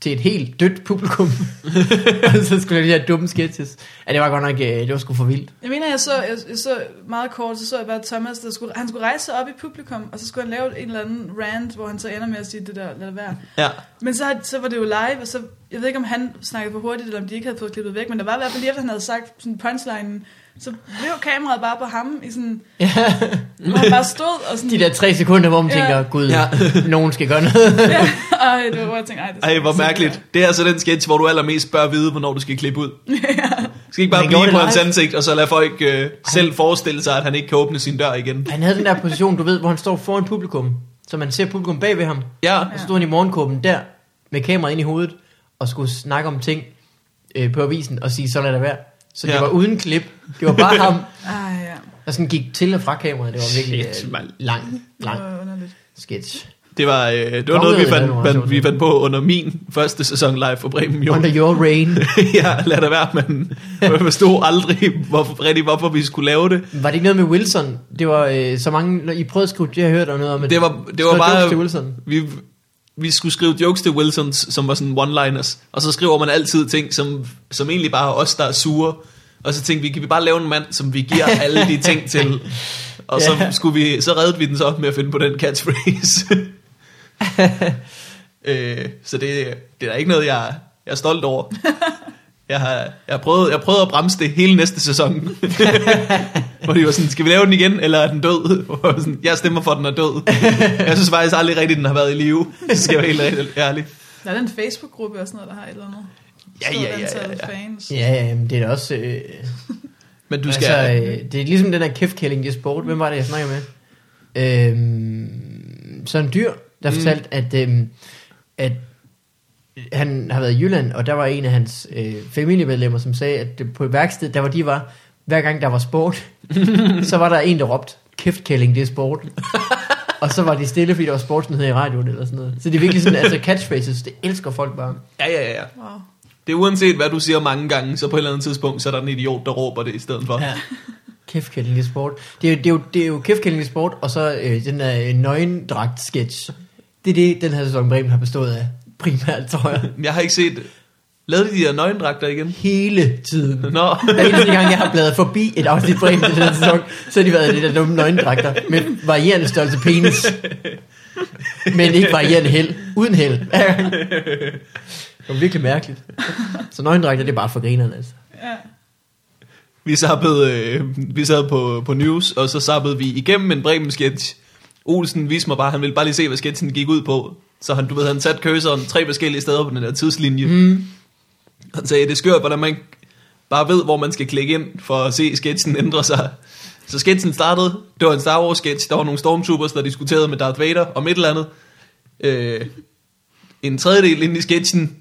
S2: til et helt dødt publikum. og så skulle de her dumme sketches. Ja, det var godt nok, øh, det var sgu for vildt.
S3: Jeg mener, jeg så, jeg, jeg så meget kort, så så jeg bare Thomas, der skulle, han skulle rejse sig op i publikum, og så skulle han lave en eller anden rant, hvor han så ender med at sige det der, lad det være.
S1: Ja.
S3: Men så, har- så var det jo live, og så, jeg ved ikke, om han snakkede for hurtigt, eller om de ikke havde fået klippet væk, men der var i hvert fald lige efter, han havde sagt sådan punchline, så blev kameraet bare på ham, i sådan,
S2: Ja,
S3: hvor han bare stod, og sådan,
S2: de der tre sekunder, hvor man
S3: Ja.
S2: tænker, gud,
S1: Ja.
S2: nogen skal gøre noget.
S3: ja, ej, det var, hvor jeg tænkte, ej, det
S1: Ej, hvor
S3: så-
S1: mærkeligt. Det er altså den sketch, hvor du allermest bør vide, hvornår du skal klippe ud. Du skal ikke bare
S2: Men gjorde det
S1: blive på hans
S2: live?
S1: ansigt, og så lade folk øh, selv forestille sig, at han ikke kan åbne sin dør igen.
S2: Han havde den der position, du ved, hvor han står foran publikum, så man ser publikum bag ved ham.
S1: Ja,
S2: Og så stod han i morgenkåben der, med kameraet ind i hovedet, og skulle snakke om ting øh, på avisen, og sige, sådan er det værd. Så det
S1: Ja.
S2: var uden klip. Det var bare ham,
S3: Ej, ja.
S2: der sådan gik til og fra kameraet. Det var virkelig
S1: Shit,
S2: øh,
S1: mand.
S2: lang, lang
S3: Det var underligt.
S2: sketch.
S1: det var, øh, det var
S2: Kongeriget
S1: noget, vi
S2: havde nogle
S1: fandt,
S2: ret
S1: fandt,
S2: sjove
S1: vi
S2: ting.
S1: fandt på under min første sæson live for Bremen. Jo.
S2: Under your rain.
S1: ja, lad det være, men jeg forstod aldrig, hvorfor, rigtig, hvorfor vi skulle lave det.
S2: Var det ikke noget med Wilson? Det var øh, så mange... når I prøvede at skrive, det har jeg hørt om noget om. at-
S1: Det var, det
S2: Skrive
S1: var
S2: jokes Til
S1: bare,
S2: Wilson.
S1: vi, vi skulle skrive jokes til Wilsons, som var sådan one-liners, og så skriver man altid ting, som, som egentlig bare er os, der er sure. Og så tænkte vi, kan vi bare lave en mand, som vi giver alle de ting til? Og så,
S2: Ja.
S1: skulle vi, så reddede vi den så op med at finde på den catchphrase. øh, så det, det er da ikke noget, jeg, jeg er stolt over. Jeg har, jeg, har prøvet, jeg har prøvet at bremse det hele næste sæson. Hvor de var sådan, skal vi lave den igen, eller er den død? Hvor jeg var sådan, jeg stemmer for, at den er død. Jeg synes faktisk aldrig rigtigt, den har været i live. Det skal jeg være helt rigtig ærlig.
S3: Der er den Facebook-gruppe og sådan noget, der har et eller andet.
S1: Ja,
S3: Stort
S1: ja, ja,
S3: antal
S1: ja, ja.
S3: Fans.
S2: Ja, ja, men det er da også... Øh,
S1: Men du
S2: du
S1: skal...
S2: skal... altså, øh, det er ligesom den der kæftkælling, de sport. Hvem var det, jeg snakkede med? Øhm, Søren Dyr, der
S1: Mm.
S2: fortalte, at, øhm, at han har været i Jylland, og der var en af hans øh, familiemedlemmer, som sagde, at det- på et værksted, der hvor de var, hver gang der var sport, så var der en, der råbte, kæftkælling, det er sport. og så var de stille, fordi der var sportsnyheder i radioen eller sådan noget. Så det er virkelig sådan, altså catchphrases, det elsker folk bare.
S1: ja, ja, ja.
S3: Wow.
S1: Det er uanset, hvad du siger mange gange, så på et eller andet tidspunkt, så er der en idiot, der råber det i stedet for. Ja.
S2: Kæftkælling i sport. Det er, jo- det er jo, det er jo kæftkælling i sport, og så øh, den der øh, nøgendragt sketch. Det er det, den her sæson Bremen har bestået af, primært, tror jeg.
S1: Jeg har ikke set... Lavede de de der nøgendragter igen?
S2: Hele tiden.
S1: Nå,
S2: Hver eneste gang, jeg har bladret forbi et afsnit fra en til den her sæson, så har de været i det der dumme nøgendragter med varierende størrelse penis. Men ikke varierende held. Uden held. Hver gang. Det var virkelig mærkeligt. Så nøgendragter, det er bare for grinerne, altså.
S3: Ja.
S1: vi, zappede, øh, vi sad på, på news, og så zappede vi igennem en bremen sketch. Olsen viste mig bare, han ville bare lige se, hvad sketchen gik ud på. Så han, du ved, han satte cursoren tre forskellige steder på den der tidslinje. Mm. Han sagde, det er skørt, hvordan man bare ved, hvor man skal klikke ind for at se sketchen ændre sig. Så sketchen startede, det var en Star Wars sketch, der var nogle stormtroopers, der diskuterede med Darth Vader om et eller andet. Øh, en tredjedel ind i sketchen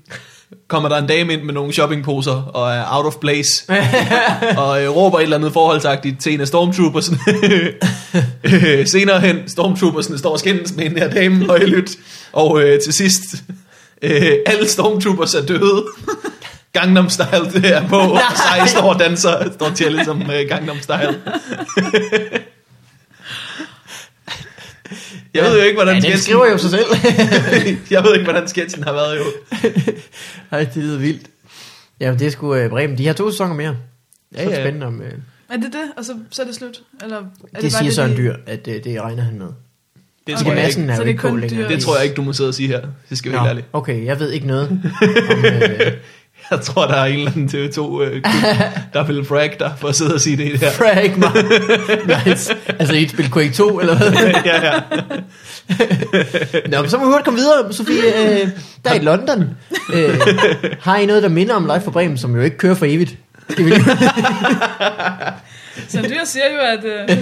S1: kommer der en dame ind med nogle shoppingposer og er out of place og øh, råber et eller andet forholdsagtigt til en af stormtroopersene. øh, senere hen, stormtroopersene står og skændes med en der dame højlydt, og øh, til sidst, øh, alle stormtroopers er døde. Gangnam Style det er på, og sej står og danser, står tjælle som øh, Gangnam Style. Jeg ved jo ikke, hvordan
S2: ja, den
S1: sketchen,
S2: skriver jo sig selv.
S1: jeg ved ikke, hvordan sketchen har været jo.
S2: Ej, det lyder vildt. Ja, men det er sgu øh, Bremen. De har to sæsoner mere. Ja,
S1: Ja,
S2: ja. Så
S1: ja.
S2: spændende om... Øh, det,
S3: Er det det, og så, så er det slut? Eller er
S2: det,
S3: bare
S2: siger det, Søren
S3: de-
S2: Dyr, at øh, det regner han med.
S1: Det
S3: Okay.
S1: tror, jeg
S2: Massen
S1: ikke,
S2: er
S3: Så
S2: jo
S3: det er
S2: ikke på
S3: kun
S2: længere.
S3: dyr.
S1: det tror jeg ikke, du må sidde og sige her. Det skal vi helt ærligt.
S2: okay, jeg ved ikke noget om... Øh,
S1: Jeg tror, der er en eller anden TV2, øh, gut, der vil frag dig for at sidde og sige det der.
S2: Frag mig. nice. Altså, I spil Quake 2, eller hvad?
S1: ja, ja.
S2: Nå, men så må vi hurtigt komme videre, Sofie. Øh, der er i London. Øh, har I noget, der minder om Live for Bremen, som jo ikke kører for evigt? Skal vi lige-
S3: Søren Dyr siger jo, at øh,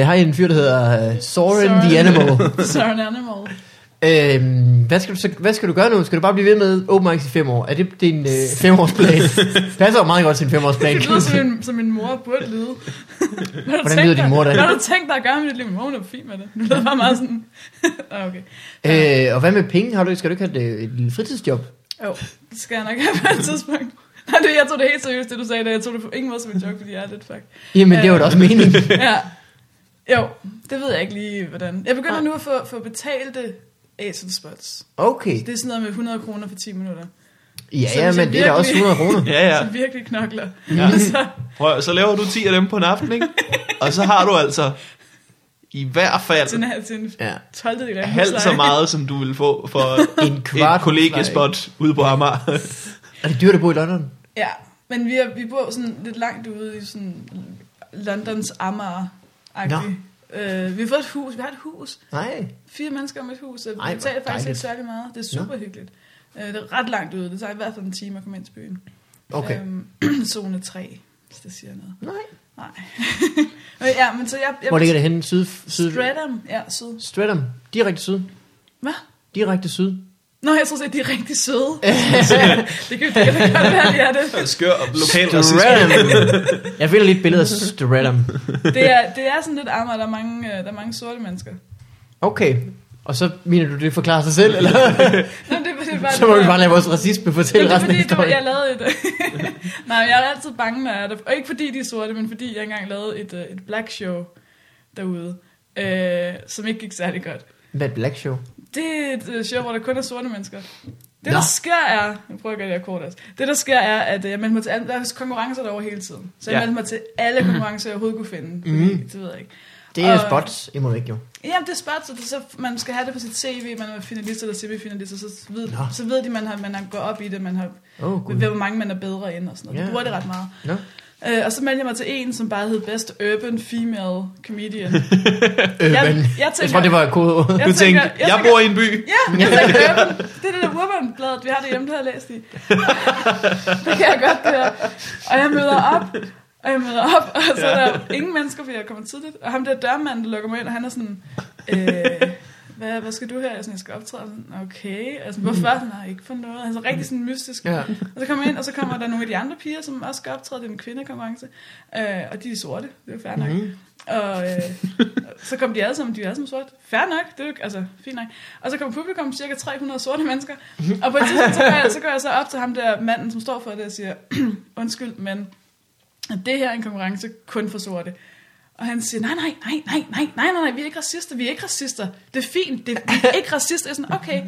S2: øh, har I en fyr, der hedder øh, Soren the Animal?
S3: Søren Animal.
S2: Øh, hvad, skal du så, hvad skal du gøre nu? Skal du bare blive ved med open mics i fem år? Er det din øh, femårsplan? Det passer jo meget godt til en femårsplan.
S3: Det lyder som min, som min mor burde lyde.
S2: Hvordan lyder din mor da?
S3: Hvad har du tænkt dig at gøre med dit liv? Min mor hun er fin med det. Du lyder bare meget sådan... Nå, okay.
S2: Øh, og hvad med penge? Har du, skal du ikke have et, øh, et lille fritidsjob?
S3: Jo, det skal jeg nok have på et tidspunkt. Nej, det, jeg tog det helt seriøst, det du sagde, da jeg tog det på ingen måde som en joke, fordi jeg er lidt fuck.
S2: Jamen, det var da
S3: Øh.
S2: også meningen.
S3: Ja. Jo, det ved jeg ikke lige, hvordan. Jeg begynder nu at få, få betalte Asian spots.
S2: Okay.
S3: Det er sådan noget med 100 kroner for 10 minutter.
S2: Ja,
S3: Så
S2: ja,
S3: hvis jeg
S2: men det er da også
S3: virkelig-
S2: 100 kroner.
S1: ja, ja.
S3: Som virkelig knokler.
S1: Ja.
S3: Ja. Så,
S1: Prøv, så laver du 10 af dem på en aften, ikke? Og så har du altså i hvert
S3: til en,
S1: fald
S3: til en
S2: Ja.
S3: 12. del af
S1: halvt Altså- så
S3: husleje.
S1: meget, som du vil få for
S2: En kvart
S1: et kollegiespot ude på Amager.
S2: Er det dyrt at bo i London?
S3: Ja, men vi, er, vi bor sådan lidt langt ude i sådan Londons Amager. Øh, vi har fået et hus, vi har et hus.
S2: Nej.
S3: Fire mennesker om et hus, og vi
S2: Ej, hvor
S3: betaler faktisk ikke
S2: dejligt.
S3: særlig meget. Det er super hyggeligt. Øh, det er ret langt ude, det tager i hvert fald en time at komme ind til byen.
S2: Okay.
S3: Øhm, zone 3, hvis det siger noget.
S2: Nej.
S3: Nej. Men ja, men så jeg... jeg
S2: Hvor ligger det henne? Syd, syd,
S3: Stratham, ja, syd.
S2: Stratham. Direkte syd.
S3: Hvad?
S2: Direkte syd.
S3: Nå, jeg tror, at de er rigtig søde. det kan det kan da godt være, de er det.
S1: Skør og lokal racisme.
S2: Stratham. Jeg finder lige et billede af Stratham.
S3: Det er, det er sådan lidt Amager, der er mange, øh, der er mange sorte mennesker.
S2: Okay. Og så mener du, det forklarer sig selv, eller?
S3: Nå, det, det er bare,
S2: Så må vi bare lade vores racisme fortælle
S3: Jamen, det er
S2: resten af
S3: fordi, du, jeg
S2: historien.
S3: lavede et... Nej, jeg er altid bange, når jeg er der. Og ikke fordi de er sorte, men fordi jeg engang lavede et, øh, et black show derude, øh, som ikke gik særlig godt.
S2: Hvad er et black show?
S3: Det er et øh, show, hvor der kun er sorte mennesker. Det,
S2: Nå.
S3: der sker er... Nu prøver jeg at gøre det her kort også. Det, der sker er, at øh, jeg meldte mig til... alle- Der er konkurrencer derovre hele tiden. Så jeg
S1: Ja.
S3: meldte mig til alle konkurrencer, jeg overhovedet kunne finde.
S2: Mhm.
S3: Fordi, Det ved jeg ikke.
S2: Det er
S3: Og-
S2: spots, I må ikke jo.
S3: Jamen, det er spørgsmålet, så, det, er så man skal have det på sit CV, man er finalist eller semifinalist, og så ved,
S2: Nå.
S3: så ved de, man har, man har gået op i det, man har,
S2: Åh, oh,
S3: ved,
S2: gud.
S3: hvor mange man er bedre end og sådan noget.
S2: Ja.
S3: Yeah. De bruger det ret meget.
S2: Nå.
S3: Øh, og så meldte jeg mig til en, som bare hed Best Urban Female Comedian.
S2: Urban.
S3: jeg
S2: Øh, Jeg tror, det var kodeordet.
S1: Du tænkte, jeg bor i en by.
S3: Ja, jeg tænker urban. Det er det der Urban-bladet, vi har derhjemme, der har jeg læst i. det kan jeg godt, det her. Og jeg møder op, og jeg møder op, og så er der ingen mennesker, fordi jeg kommer tidligt. Og ham der dørmanden, der lukker mig ind, og han er sådan, øh, hvad, hvad skal du her? Jeg, er sådan, jeg skal optræde. Og Sådan, okay, altså hvorfor? Nej, ikke for noget. Altså rigtig sådan mystisk.
S2: Ja.
S3: Og så kommer jeg ind, og så kommer der nogle af de andre piger, som også skal optræde. Det er en kvindekonkurrence. Øh, og de er sorte. Det er jo fair nok. Mm-hmm. Og øh, så kom de alle sammen, de er alle sammen sorte. Fair nok, det er jo ikke- altså fint nok. Og så kom publikum, cirka 300 sorte mennesker. Og på et tidspunkt, så går, jeg, så går jeg så op til ham der manden, som står for det, og siger, undskyld, men det her er en konkurrence kun for sorte. Og han siger, nej, nej, nej, nej, nej, nej, nej, nej, vi er ikke racister, vi er ikke racister. Det er fint, det, vi er ikke racister. Jeg er sådan, okay.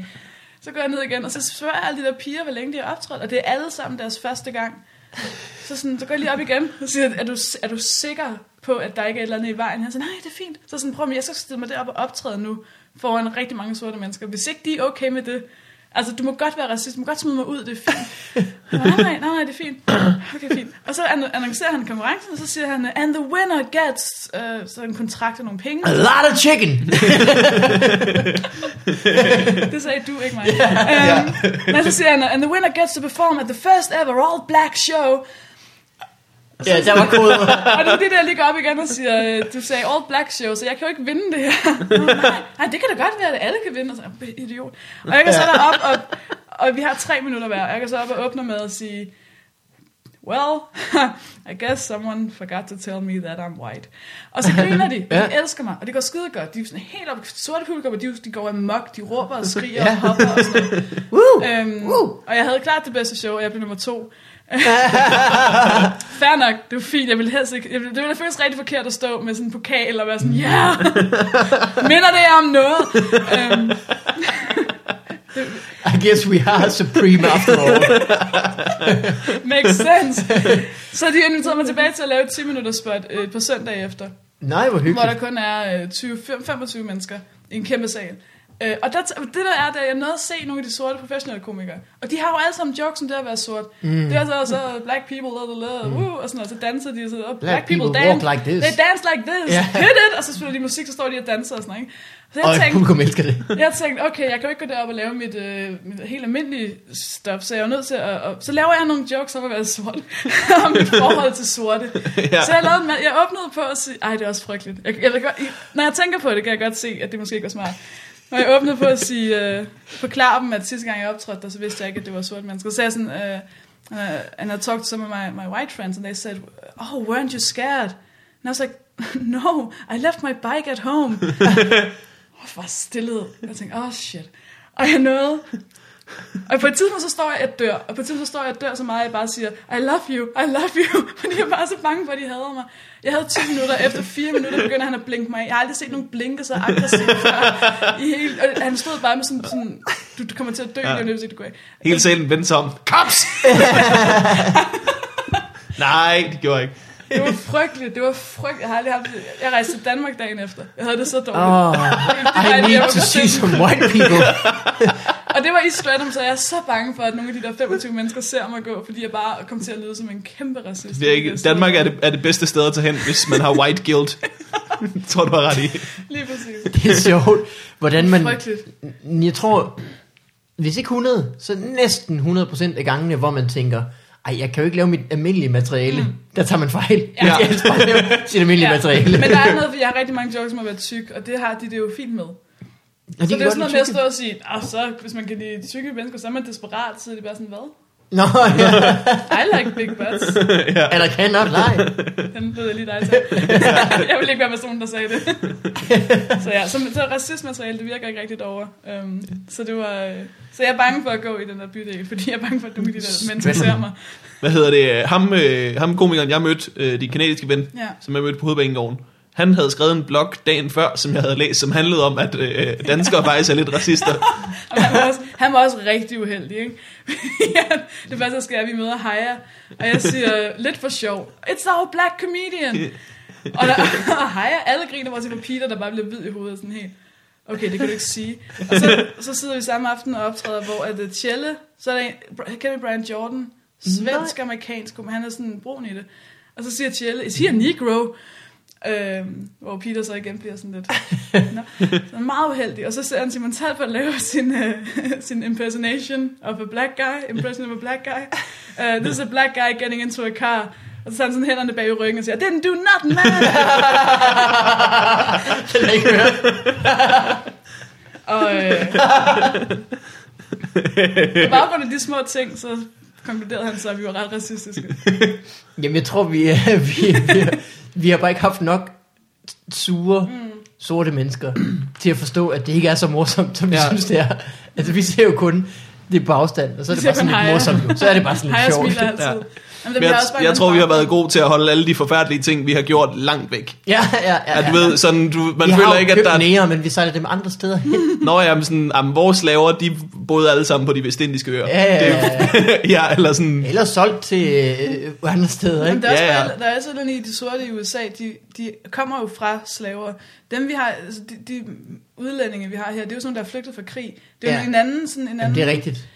S3: Så går jeg ned igen, og så spørger jeg alle de der piger, hvor længe de har optrådt, og det er alle sammen deres første gang. Så, sådan, så går jeg lige op igen og siger, er du, er du sikker på, at der ikke er et eller andet i vejen? Han siger, nej, det er fint. Så sådan, prøv at- jeg skal stille mig derop og optræde nu foran rigtig mange sorte mennesker. Hvis ikke de er okay med det, altså du må godt være racist, du må godt smide mig ud, det er fint. Nej, nej, nej, nej, det er fint. Okay, fint. Og så anno- annoncerer han konkurrencen, og så siger han, and the winner gets øh, så en kontrakt og nogle penge.
S2: A lot of chicken!
S3: Det sagde du, ikke mig. Um, men så siger han, and the winner gets to perform at the first ever all black show.
S2: ja, der var koder.
S3: Og det er det, der lige går op igen og siger, øh, du sagde all black show, så jeg kan jo ikke vinde det her. Nå, nej, nej, det kan da godt være, at alle kan vinde. Og så, "Ah, idiot. Og jeg kan så derop, og, og vi har tre minutter hver, og jeg kan så op og åbner med at sige, Well, I guess someone forgot to tell me that I'm white. Og så griner de, og de
S2: Ja.
S3: elsker mig, og det går skide godt. De er sådan helt op, sorte publikum, og de, de går amok, de råber og skriger
S2: Ja.
S3: og hopper og sådan noget.
S2: Woo!
S3: Øhm,
S2: Woo!
S3: Og jeg havde klart det bedste show, og jeg blev nummer to. Fair nok, det var fint. Jeg ville helst ikke, jeg ville, det ville føles rigtig forkert at stå med sådan en pokal og være sådan, ja, yeah! minder det jer om noget? øhm,
S2: I guess we are supreme after all.
S3: makes sense. Så de inviterede mig tilbage til at lave et 10 minutter spot øh, på søndag efter,
S2: Nej, hvor
S3: hvor der
S2: hyggeligt.
S3: kun er øh, 20, 25 mennesker i en kæmpe sal. Øh, og der, det der er, at jeg nåede at se nogle af de sorte professionelle komikere. Og de har jo alle sammen jokes om det at være sort. Mm. Det er så, så black people, la, la, la, woo, og sådan noget. Så danser de, og så, oh, black, black people,
S2: Mm. people
S3: dance.
S2: walk like this.
S3: They dance like this.
S2: Ja.
S3: Yeah. Hit it! Og så spiller de musik, så står de og danser og sådan noget. ikke? Så jeg
S2: Og
S3: tænkte,
S2: publikum elsker det.
S3: jeg tænkte, okay, jeg kan jo ikke gå derop og lave mit, øh, mit helt almindelige stof, så jeg er jo nødt til at... Og, så laver jeg nogle jokes om at være sort, om mit forhold til sorte. ja. Så jeg, lavede, en ma- jeg åbnede på at sige, ej, det er også frygteligt. Jeg, jeg, jeg, når jeg tænker på det, kan jeg godt se, at det måske ikke var smart. Når jeg åbnede på at sige, øh, forklare dem, at sidste gang jeg optrådte der, så vidste jeg ikke, at det var sorte mennesker. Så sagde jeg sådan, øh, uh, and I talked to some of my, my white friends, and they said, oh, weren't you scared? And I was like, no, I left my bike at home. Og var stillet. Jeg tænkte, åh oh, shit. Og jeg nåede. Og på et tidspunkt, så står jeg, at dør. Og på et tidspunkt, så står jeg, at dør så meget, at jeg bare siger, I love you, I love you. Fordi jeg bare er så bange for, at de hader mig. Jeg havde 10 minutter. Efter 4 minutter begynder han at blinke mig af. Jeg har aldrig set nogen blinke så aggressivt før. I hele, og han stod bare med sådan, sådan du, du kommer til at dø, ja. det er du går af.
S1: Hele salen vendte sig om. Kops! Nej, det gjorde jeg ikke.
S3: Det var frygteligt, det var frygteligt. Jeg har aldrig haft det. Jeg rejste til Danmark dagen efter. Jeg havde det så dårligt.
S2: Oh,
S3: var
S2: I
S3: det,
S2: need
S3: jeg var
S2: to
S3: på
S2: see
S3: film.
S2: some white people.
S3: Og det var i Stratum, så jeg er så bange for, at nogle af de der 25 mennesker ser mig gå, fordi jeg bare kom til at lyde som en kæmpe racist.
S1: Det er ikke. Danmark er det, er det bedste sted at tage hen, hvis man har white guilt. Det tror du har ret i.
S3: Lige præcis.
S2: Det er sjovt, hvordan man...
S3: Frygteligt.
S2: N- Jeg tror, hvis ikke 100, så næsten 100% af gangene, hvor man tænker, ej, jeg kan jo ikke lave mit almindelige materiale. Mm. Der tager man fejl. Ja. Jeg skal helst bare lave sit almindelige ja. materiale.
S3: Men der er noget, for jeg har rigtig mange jokes om at være tyk, og det har de det jo fint med.
S2: Og
S3: så
S2: kan
S3: det er
S2: godt
S3: sådan noget
S2: lide
S3: med at stå og sige, "Ah, så hvis man kan lide tykke mennesker, så er man desperat, så er det bare sådan, hvad?
S2: Nå, ja.
S3: I like big butts.
S2: Eller kan not lie.
S3: Den ved jeg lige dig til. jeg vil ikke være personen, der sagde det. så ja, så, så racistmateriale, det virker ikke rigtigt over. Um, så det var... øh, Så jeg er bange for at gå i den der bydel, fordi jeg er bange for, at nogle af de der mennesker ser mig.
S1: Hvad hedder det? Ham, øh, ham komikeren, jeg mødte, øh, din kanadiske ven,
S3: Ja.
S1: som jeg mødte på hovedbanegården, han havde skrevet en blog dagen før, som jeg havde læst, som handlede om, at øh, danskere faktisk er lidt racister.
S3: Og han, var også, han var også rigtig uheldig, ikke? ja, det første, der sker, er, at vi møder Haya, og jeg siger lidt for sjov, it's our black comedian. og, der, og Haya, alle griner, hvor til Peter, der bare bliver hvid i hovedet sådan helt. Okay, det kan du ikke sige. Og så, så sidder vi samme aften og optræder, hvor at øh, Tjelle, så er der en, Br- kender I Brian Jordan, svensk-amerikansk, men han er sådan brun i det. Og så siger Tjelle, is he a negro? Øhm, hvor Peter så igen bliver sådan lidt Nå. Så han er meget uheldig Og så ser han Simon Talbot lave sin, uh, sin impersonation of a black guy Impression of a black guy uh, This is a black guy getting into a car Og så tager han sådan hænderne bag i ryggen og siger Didn't do nothing man
S2: Det er ikke hørt.
S3: Og øh, på baggrund af de små ting Så konkluderede han så at vi var ret racistiske
S2: Jamen, jeg tror, vi, er, vi, vi, er, vi har bare ikke haft nok sure, mm. sorte mennesker til at forstå, at det ikke er så morsomt, som vi ja.
S1: Ja.
S2: synes, det er. Altså, vi ser jo kun det på afstand, og så er
S3: Vi
S2: det
S3: ser
S2: bare sådan lidt
S3: kun Haya.
S2: morsomt. Jo. Så er det bare sådan lidt
S3: Hej jeg
S2: sjovt.
S3: smiler altid Jamen, det
S1: Men
S3: bliver
S1: jeg,
S3: også bare en
S1: jeg tror, vi har
S3: anden
S1: været gode til at holde alle de forfærdelige ting, vi har gjort langt væk.
S2: Ja, ja, ja.
S1: At
S2: ja.
S1: du ved, sådan, du, man
S2: vi har
S1: føler
S2: jo
S1: ikke, at
S2: købt
S1: der er...
S2: nære, men vi sejler dem andre steder hen.
S1: Nå, jamen sådan, jamen, vores slaver, de boede alle sammen på de vestindiske øer.
S2: Ja, ja, ja,
S1: Det, ja eller sådan...
S2: Eller solgt til øh, andre steder,
S3: Jamen,
S2: ikke?
S3: der, er også
S1: Ja, ja.
S3: bare, der er også noget i de sorte i USA, de, de kommer jo fra slaver. Dem vi har, altså de, de udlændinge vi har her, det er jo sådan nogle, der er flygtet fra krig. Det er
S2: Ja.
S3: jo en anden, sådan en
S2: Jamen,
S3: anden...
S2: det er rigtigt.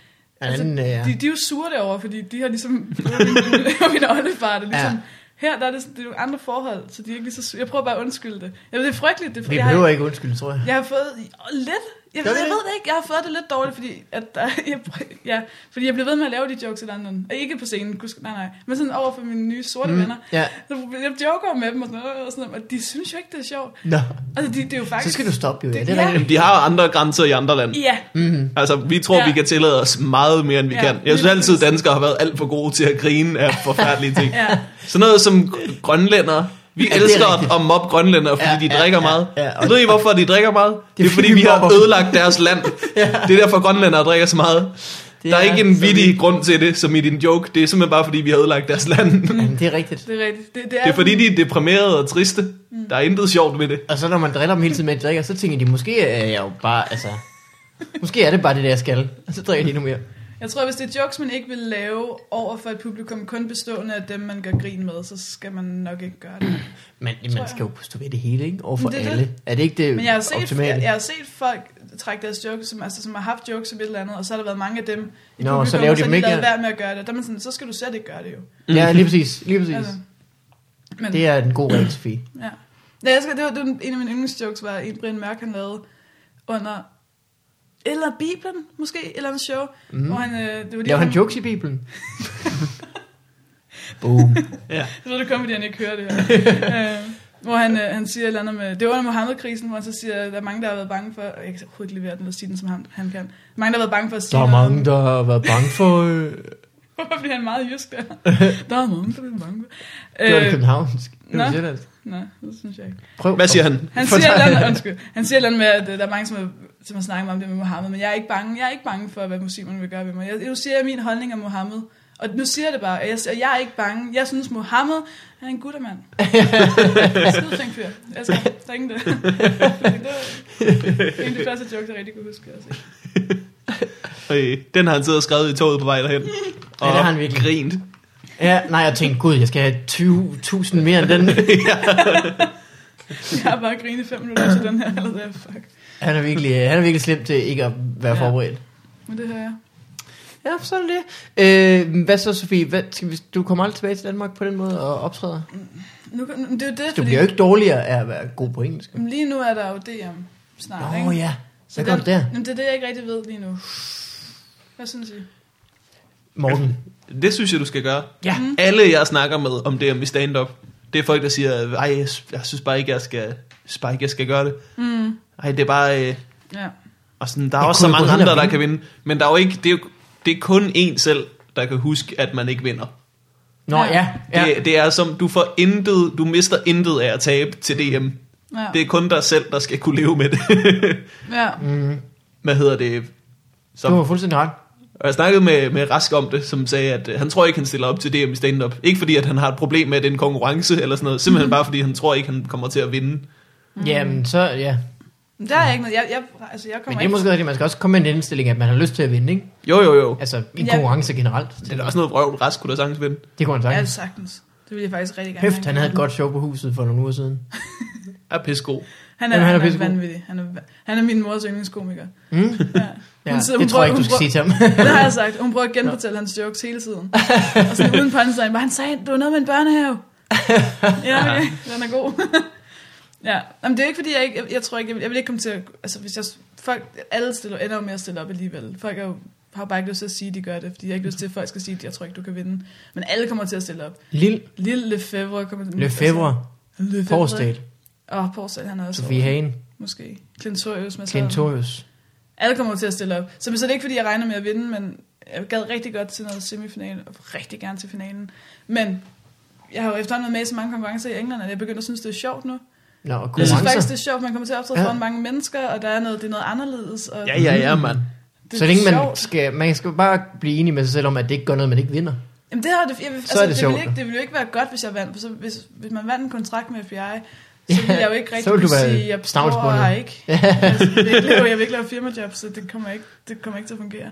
S3: Altså,
S2: Anden, altså,
S3: de, de er jo sure derovre, fordi de har ligesom... det var min- min oldefar, der ligesom...
S2: Ja.
S3: Ja. Her der er det, sådan- det er nogle andre forhold, så de er ikke lige så sure. Jeg prøver bare at undskylde det. Jeg ved, det er frygteligt. Det,
S2: vi
S3: jeg,
S2: behøver
S3: har,
S2: ikke undskylde, tror jeg.
S3: jeg har fået åh, lidt... Jeg,
S2: Gør
S3: jeg
S2: vi det?
S3: ved det ikke, jeg har fået det lidt dårligt, fordi, at, der, jeg, prø- ja, fordi jeg blev ved med at lave de jokes i London. Og Ikke på scenen, gudsk- nej nej, men sådan over for mine nye sorte mm. venner.
S2: Ja.
S3: Så jeg joker med dem og sådan noget, og, sådan noget, og de synes jo ikke, det er sjovt.
S2: Nå,
S3: Altså, de, det er jo
S2: så
S3: faktisk...
S2: skal du Mm. stoppe jo. Ja,
S3: Det-
S2: det er
S3: ja.
S2: rigtigt.
S1: Jamen, de har jo andre grænser i andre lande.
S3: Ja,
S1: Altså, vi tror,
S3: Ja.
S1: vi kan tillade os meget mere, end vi
S3: Ja,
S1: kan. Jeg
S3: lige
S1: synes altid,
S3: præcis.
S1: danskere har været alt for gode til at grine af forfærdelige ting.
S3: ja.
S1: Sådan noget som grønlænder. Vi
S2: Ja, det er
S1: elsker
S2: rigtigt.
S1: at mobbe grønlænder, fordi
S2: Ja,
S1: ja, de
S2: ja,
S1: drikker
S2: ja,
S1: meget.
S2: ja, og-
S1: og ved I, hvorfor de drikker meget? Det er, fordi vi har
S2: mobber dem.
S1: ødelagt deres land. Det er derfor, grønlændere drikker så meget.
S2: Det
S1: Der er ikke
S2: så
S1: en vittig
S2: vildt.
S1: grund til det, som i din joke. Det er simpelthen bare, fordi vi har ødelagt deres land. Det
S2: Jamen, det er rigtigt.
S3: det er rigtigt. Det, det,
S1: er, fordi de er deprimerede og triste. Der er intet sjovt ved det.
S2: Og så når man driller dem hele tiden med, at de drikker, så tænker de, måske er jeg jo bare, altså... Måske er det bare det, der jeg skal. Og så drikker de endnu mere.
S3: Jeg tror, hvis det er jokes, man ikke vil lave over for et publikum, kun bestående af dem, man gør grin med, så skal man nok ikke gøre det.
S2: Men
S3: Tror
S2: man
S3: jeg.
S2: skal jo stå ved det hele, ikke? Overfor
S3: Men
S2: det
S3: det er
S2: alle. Er det ikke det
S3: Men jeg har set,
S2: optimale?
S3: jeg, jeg har set folk trække deres jokes, som, altså, som har haft jokes om et eller andet, og så har der været mange af dem i
S2: Nå, og så laver de
S3: har
S2: dem ikke,
S3: lavet
S2: ja.
S3: værd med at gøre det. Der er man sådan, så skal du slet ikke gøre det jo.
S2: Ja,
S1: Mm.
S2: lige præcis. Lige præcis.
S3: Altså, men,
S2: Det er en god regel, Sofie. Mm.
S3: Ja. Ja, jeg skal, det, var, det var en af mine yndlingsjokes, var en Brian Mørk, han lavede under... Eller Bibelen, måske, et eller andet show. Mm. Hvor han, øh, det var
S2: Laver han jokes i Bibelen? Boom.
S3: Så ved du kun, fordi han ikke hører det her. øh, hvor han, øh, han siger et eller andet med... Det var under Mohammed-krisen, hvor han så siger, at der er mange, der har været bange for... Jeg kan overhovedet ikke levere den og sige den, som han, han kan. Mange, der har været bange for at sige
S2: Der er
S3: noget.
S2: mange, der har været bange for... Øh,
S3: Hvorfor bliver han meget jysk der? der er mange, der er bange for...
S2: det var det
S3: Øh,
S2: københavnsk. Det var
S3: nå.
S2: sjællandsk.
S3: nej, det synes jeg ikke.
S2: Prøv.
S1: Hvad siger han?
S3: Han siger, et eller andet, undskyld, han siger et eller andet med, at øh, der er mange, som, er, som har snakket meget om det med Mohammed, men jeg er ikke bange, jeg er ikke bange for, hvad muslimerne vil gøre ved mig. Jeg, nu siger jeg min holdning om Mohammed, og nu siger jeg det bare, og jeg, og jeg er ikke bange. Jeg synes, Mohammed er en guttermand. Skidflink fyr. Jeg elsker ham. der er ingen det. det var en af de første jokes, jeg rigtig kunne huske. Altså.
S1: Øh, Den har han siddet og skrevet i toget på vej derhen.
S2: Ja, det har han virkelig.
S1: grint.
S2: Ja, nej, jeg tænkte, gud, jeg skal have 20.000 mere end den.
S3: Jeg har bare grinet i fem minutter til den her. Eller, hvad, fuck.
S2: Han er virkelig, øh, han er virkelig slem til ikke at være
S3: Ja.
S2: forberedt.
S3: Men det her jeg.
S2: Ja, så er det. Øh, hvad så, Sofie? Hvad, skal vi, du kommer aldrig tilbage til Danmark på den måde og optræder?
S3: Nu, kan- det er jo det,
S2: Altså, Du
S3: fordi
S2: bliver jo ikke dårligere af at være god på engelsk.
S3: lige nu er der jo DM snart.
S2: Åh
S3: ikke?
S2: oh, ja. Hvad
S3: den-
S2: kom det der?
S3: Jamen, det er det, jeg ikke rigtig ved lige nu. Hvad synes I?
S2: Morten.
S1: Det synes jeg, du skal gøre.
S2: Ja.
S1: Alle, jeg snakker med om det, om vi stand-up, det er folk, der siger, ej, jeg, jeg synes bare ikke, jeg skal, jeg synes bare ikke, jeg skal gøre det. Mm. Ej, det er bare... Øh,
S3: Ja.
S1: og sådan, der er
S2: Jeg
S1: også så
S2: kunne jo
S1: mange
S2: gå hen og
S1: andre, der
S2: vinde.
S1: kan vinde. Men der er jo ikke, det, er, jo- det er kun én selv, der kan huske, at man ikke vinder.
S2: Nå
S3: Ja.
S2: ja. ja.
S1: Det, det er som, du får intet, du mister intet af at tabe til DM.
S3: Ja.
S1: Det er kun dig selv, der skal kunne leve med det.
S3: ja.
S1: Hvad hedder det? Så,
S2: Du har fuldstændig ret.
S1: Og jeg snakkede med, med Rask om det, som sagde, at øh, han tror ikke, han stiller op til DM i stand-up. Ikke fordi, at han har et problem med, at det er en konkurrence eller sådan noget. Simpelthen bare fordi, han tror ikke, han kommer til at vinde.
S3: Mm.
S2: Jamen så, ja.
S3: Men Der er ikke noget. Jeg, jeg, altså, jeg
S2: Men
S3: kommer
S2: det er måske rigtigt, man skal også komme med en indstilling, at man har lyst til at vinde, ikke?
S1: Jo, jo, jo.
S2: Altså, i en
S3: Ja.
S2: konkurrence generelt.
S1: Det er da også noget vrøvl, Rask kunne da sagtens vinde.
S2: Det kunne han
S3: ikke. Ja,
S2: sagtens.
S3: sagtens. Det ville jeg faktisk rigtig gerne.
S2: Hæft, han havde et godt show på huset for nogle uger siden.
S1: Er pissegod.
S3: Han er,
S2: Jamen, han er
S3: han er,
S2: pissegod.
S3: vanvittig. Han er, han er min mors yndlingskomiker.
S2: Ja,
S3: Hun sidder-
S2: det
S3: hun
S2: tror jeg
S3: prøver-
S2: ikke, du skal
S3: hun
S2: sige til ham.
S3: Det har jeg sagt. Hun prøver at genfortælle hans jokes hele tiden. Og sådan uden punchline. Bare, han sagde, det var noget med en børnehave. ja, okay. Den er god. ja. Jamen, det er ikke fordi, jeg ikke... Jeg, jeg tror ikke, jeg vil, jeg vil ikke komme til at... Altså, hvis jeg... Folk, alle stiller, ender jo med at stille op alligevel. Folk er jo, har bare ikke lyst til at sige, at de gør det, fordi jeg har ikke lyst til, at folk skal sige, at jeg tror ikke, du kan vinde. Men alle kommer til at stille op.
S2: Lille
S3: Lille Lefebvre kommer til...
S2: Lefebvre,
S3: Altså, Lefebvre.
S2: Forstat,
S3: Åh, oh, Porsdal, han er også
S2: Sofie
S3: over.
S2: Hagen,
S3: Måske. Clintorius med
S2: Klintorius.
S3: Alle kommer til at stille op. Så, så det er ikke, fordi jeg regner med at vinde, men jeg gad rigtig godt til noget semifinal, og rigtig gerne til finalen. Men jeg har jo efterhånden været med i så mange konkurrencer i England, at jeg begynder at synes, det er sjovt nu.
S2: Nå, og
S3: Jeg synes faktisk,
S2: konkurrencer.
S3: det er sjovt, man kommer til at optræde
S2: Ja.
S3: ja. foran mange mennesker, og der er noget, det er noget anderledes. Og
S1: Ja, ja, ja, mand.
S3: Det er
S2: Så længe man
S3: sjovt.
S2: skal, man skal bare blive enig med sig selv om, at det ikke gør noget, man ikke vinder.
S3: Jamen det har det, jeg vil, altså,
S2: Så er det
S3: det,
S2: sjovt.
S3: ville ikke, det ville jo ikke være godt, hvis jeg vandt. For så, hvis, hvis man vandt en kontrakt med FBI, så ville jeg jo ikke
S2: så
S3: rigtig
S2: ville
S3: kunne
S2: du være
S3: sige, jeg prøver
S2: stavnsbundet.
S3: her ikke. altså, jeg, vil ikke lave, jeg vil ikke lave firmajob, så det kommer ikke, det kommer ikke til at fungere.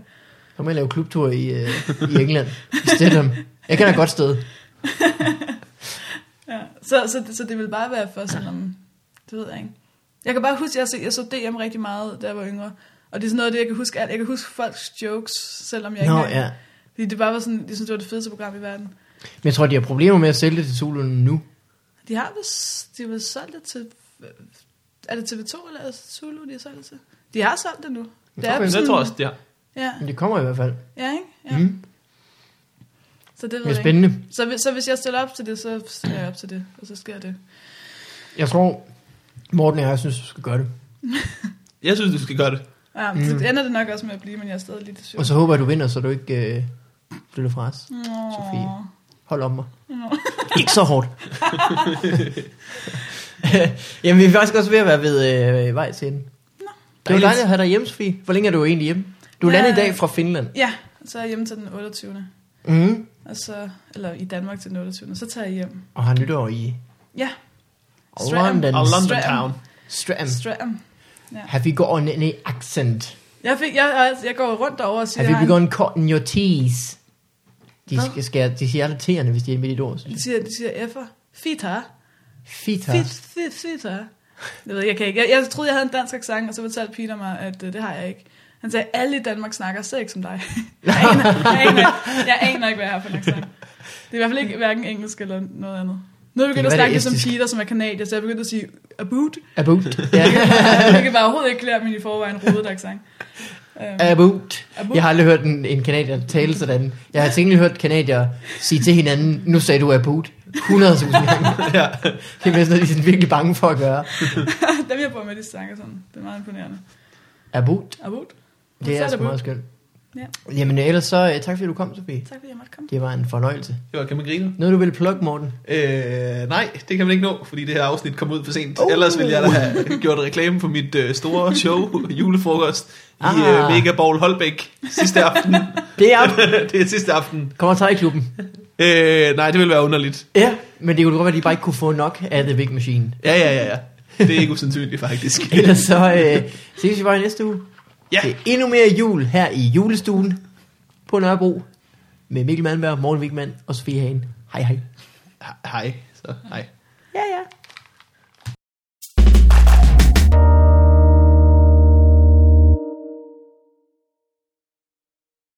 S2: Så må jeg lave klubtur i, øh, i England. I Stedham. Jeg kender et godt sted.
S3: Ja. Så, så, det- så det ville bare være for sådan om, det ved jeg ikke. Jeg kan bare huske, jeg så, jeg så DM rigtig meget, da jeg var yngre. Og det er sådan noget af det, jeg kan huske alt. Jeg kan huske folks jokes, selvom jeg
S2: Nå,
S3: ikke...
S2: ja.
S3: Fordi det bare var sådan, jeg synes, det var det fedeste program i verden.
S2: Men jeg tror, de har problemer med at sælge det til Zulu nu.
S3: De har vist, de har vist solgt det til... Er det TV2 eller Zulu, de har solgt det til? De har solgt det nu. Det
S2: Okay.
S1: Men
S3: sådan-
S1: det tror jeg også, det er.
S3: Ja,
S2: Men det kommer i hvert fald.
S3: ja ikke? Ja.
S2: Mm.
S3: Så det
S2: Det er
S3: ved jeg ikke.
S2: spændende.
S3: Så, hvis- så hvis jeg stiller op til det, så stiller jeg op til det, og så sker det.
S2: Jeg tror, Morten og jeg synes, du skal gøre det.
S1: Jeg synes, du skal gøre det.
S3: Ja, mm. så det ender det nok også med at blive, men jeg er stadig lidt i tvivl.
S2: Og så håber jeg, du vinder, så du ikke øh, flytter fra os.
S3: Nå.
S2: Sofie. Hold om mig.
S3: Nå.
S2: Ikke så hårdt. Jamen, vi er faktisk også ved at være ved øh, vej til enden. Det var
S1: Dejligt.
S2: dejligt at have dig hjemme, Sofie. Hvor længe er du egentlig hjemme? Du er
S3: Ja.
S2: landet i dag fra Finland.
S3: Ja, så er jeg hjemme til den 28.
S2: Mm.
S3: Og så, eller i Danmark til den 28. Så tager jeg hjem.
S2: Og har nytår i
S3: Ja, Stram.
S2: London.
S1: Og London
S3: Stram.
S1: Town.
S2: Stram.
S3: Stram.
S2: Have you got an, any accent?
S3: Jeg, fik, jeg, jeg går rundt derovre og siger,
S2: Have
S3: jeg
S2: you
S3: har en-
S2: begun cutting your teeth? De,
S3: Hvad?
S2: skal, skal, de siger alle tæerne, hvis de er midt i et ord. synes jeg.
S3: de siger, de siger F'er. Fita.
S2: Fita.
S3: Fit, fit, fita. Jeg ved, jeg kan ikke. Jeg, jeg troede, jeg havde en dansk accent, og så fortalte Peter mig, at øh, det har jeg ikke. Han sagde, alle i Danmark snakker slet ikke som dig. jeg, aner, jeg, aner, jeg aner ikke, hvad jeg har for en accent. Det er i hvert fald ikke hverken engelsk eller noget andet. Nu er jeg
S2: Det
S3: begyndt at
S2: kan være, det
S3: snakke
S2: er
S3: som
S2: estisk.
S3: Peter, som er kanadier, så jeg er begyndt at sige a boot.
S2: A boot. Ja.
S3: Hvilket bare overhovedet ikke klæder min i forvejen rodede accent. Øhm,
S2: A boot.
S3: A boot.
S2: Jeg har aldrig hørt en, en kanadier tale sådan. Jeg har tænkt hørt kanadier sige til hinanden, nu sagde du a boot. 100.000 gange. ja. Det er mest noget, de er virkelig bange for at gøre.
S3: Dem jeg bor med, de snakker sådan. Det er meget imponerende.
S2: A boot.
S3: Abut.
S2: Det
S3: Så
S2: er,
S3: er
S2: er
S3: det
S2: sgu
S3: boot.
S2: meget skønt.
S3: Ja.
S2: Jamen ellers så, øh, tak fordi du kom, Sofie.
S3: Tak fordi jeg måtte komme.
S2: Det var en fornøjelse.
S1: Det var, kan man grine?
S2: Noget du ville plukke, Morten?
S1: Øh, nej, det kan man ikke nå, fordi det her afsnit kom ud for sent.
S2: Oh.
S1: Oh. Ellers ville jeg da have gjort reklame for mit øh, store show, julefrokost, ah. i
S2: Ah.
S1: øh, Mega Bowl Holbæk sidste aften.
S2: Det er op.
S1: det er sidste aften.
S2: Kommer til i klubben.
S1: Øh, nej, det ville være underligt.
S2: Ja, men det kunne godt være, at de bare ikke kunne få nok af The Big Machine.
S1: Ja, ja, ja, ja. Det er ikke usandsynligt, faktisk.
S2: Ellers så øh, ses vi bare i næste uge.
S1: Ja.
S2: Til endnu mere jul her i julestuen på Nørrebro med Mikkel Malmberg, Morten Wigman og Sofie Hagen. Hej hej.
S1: He- Hej. Så, hej.
S2: Ja ja.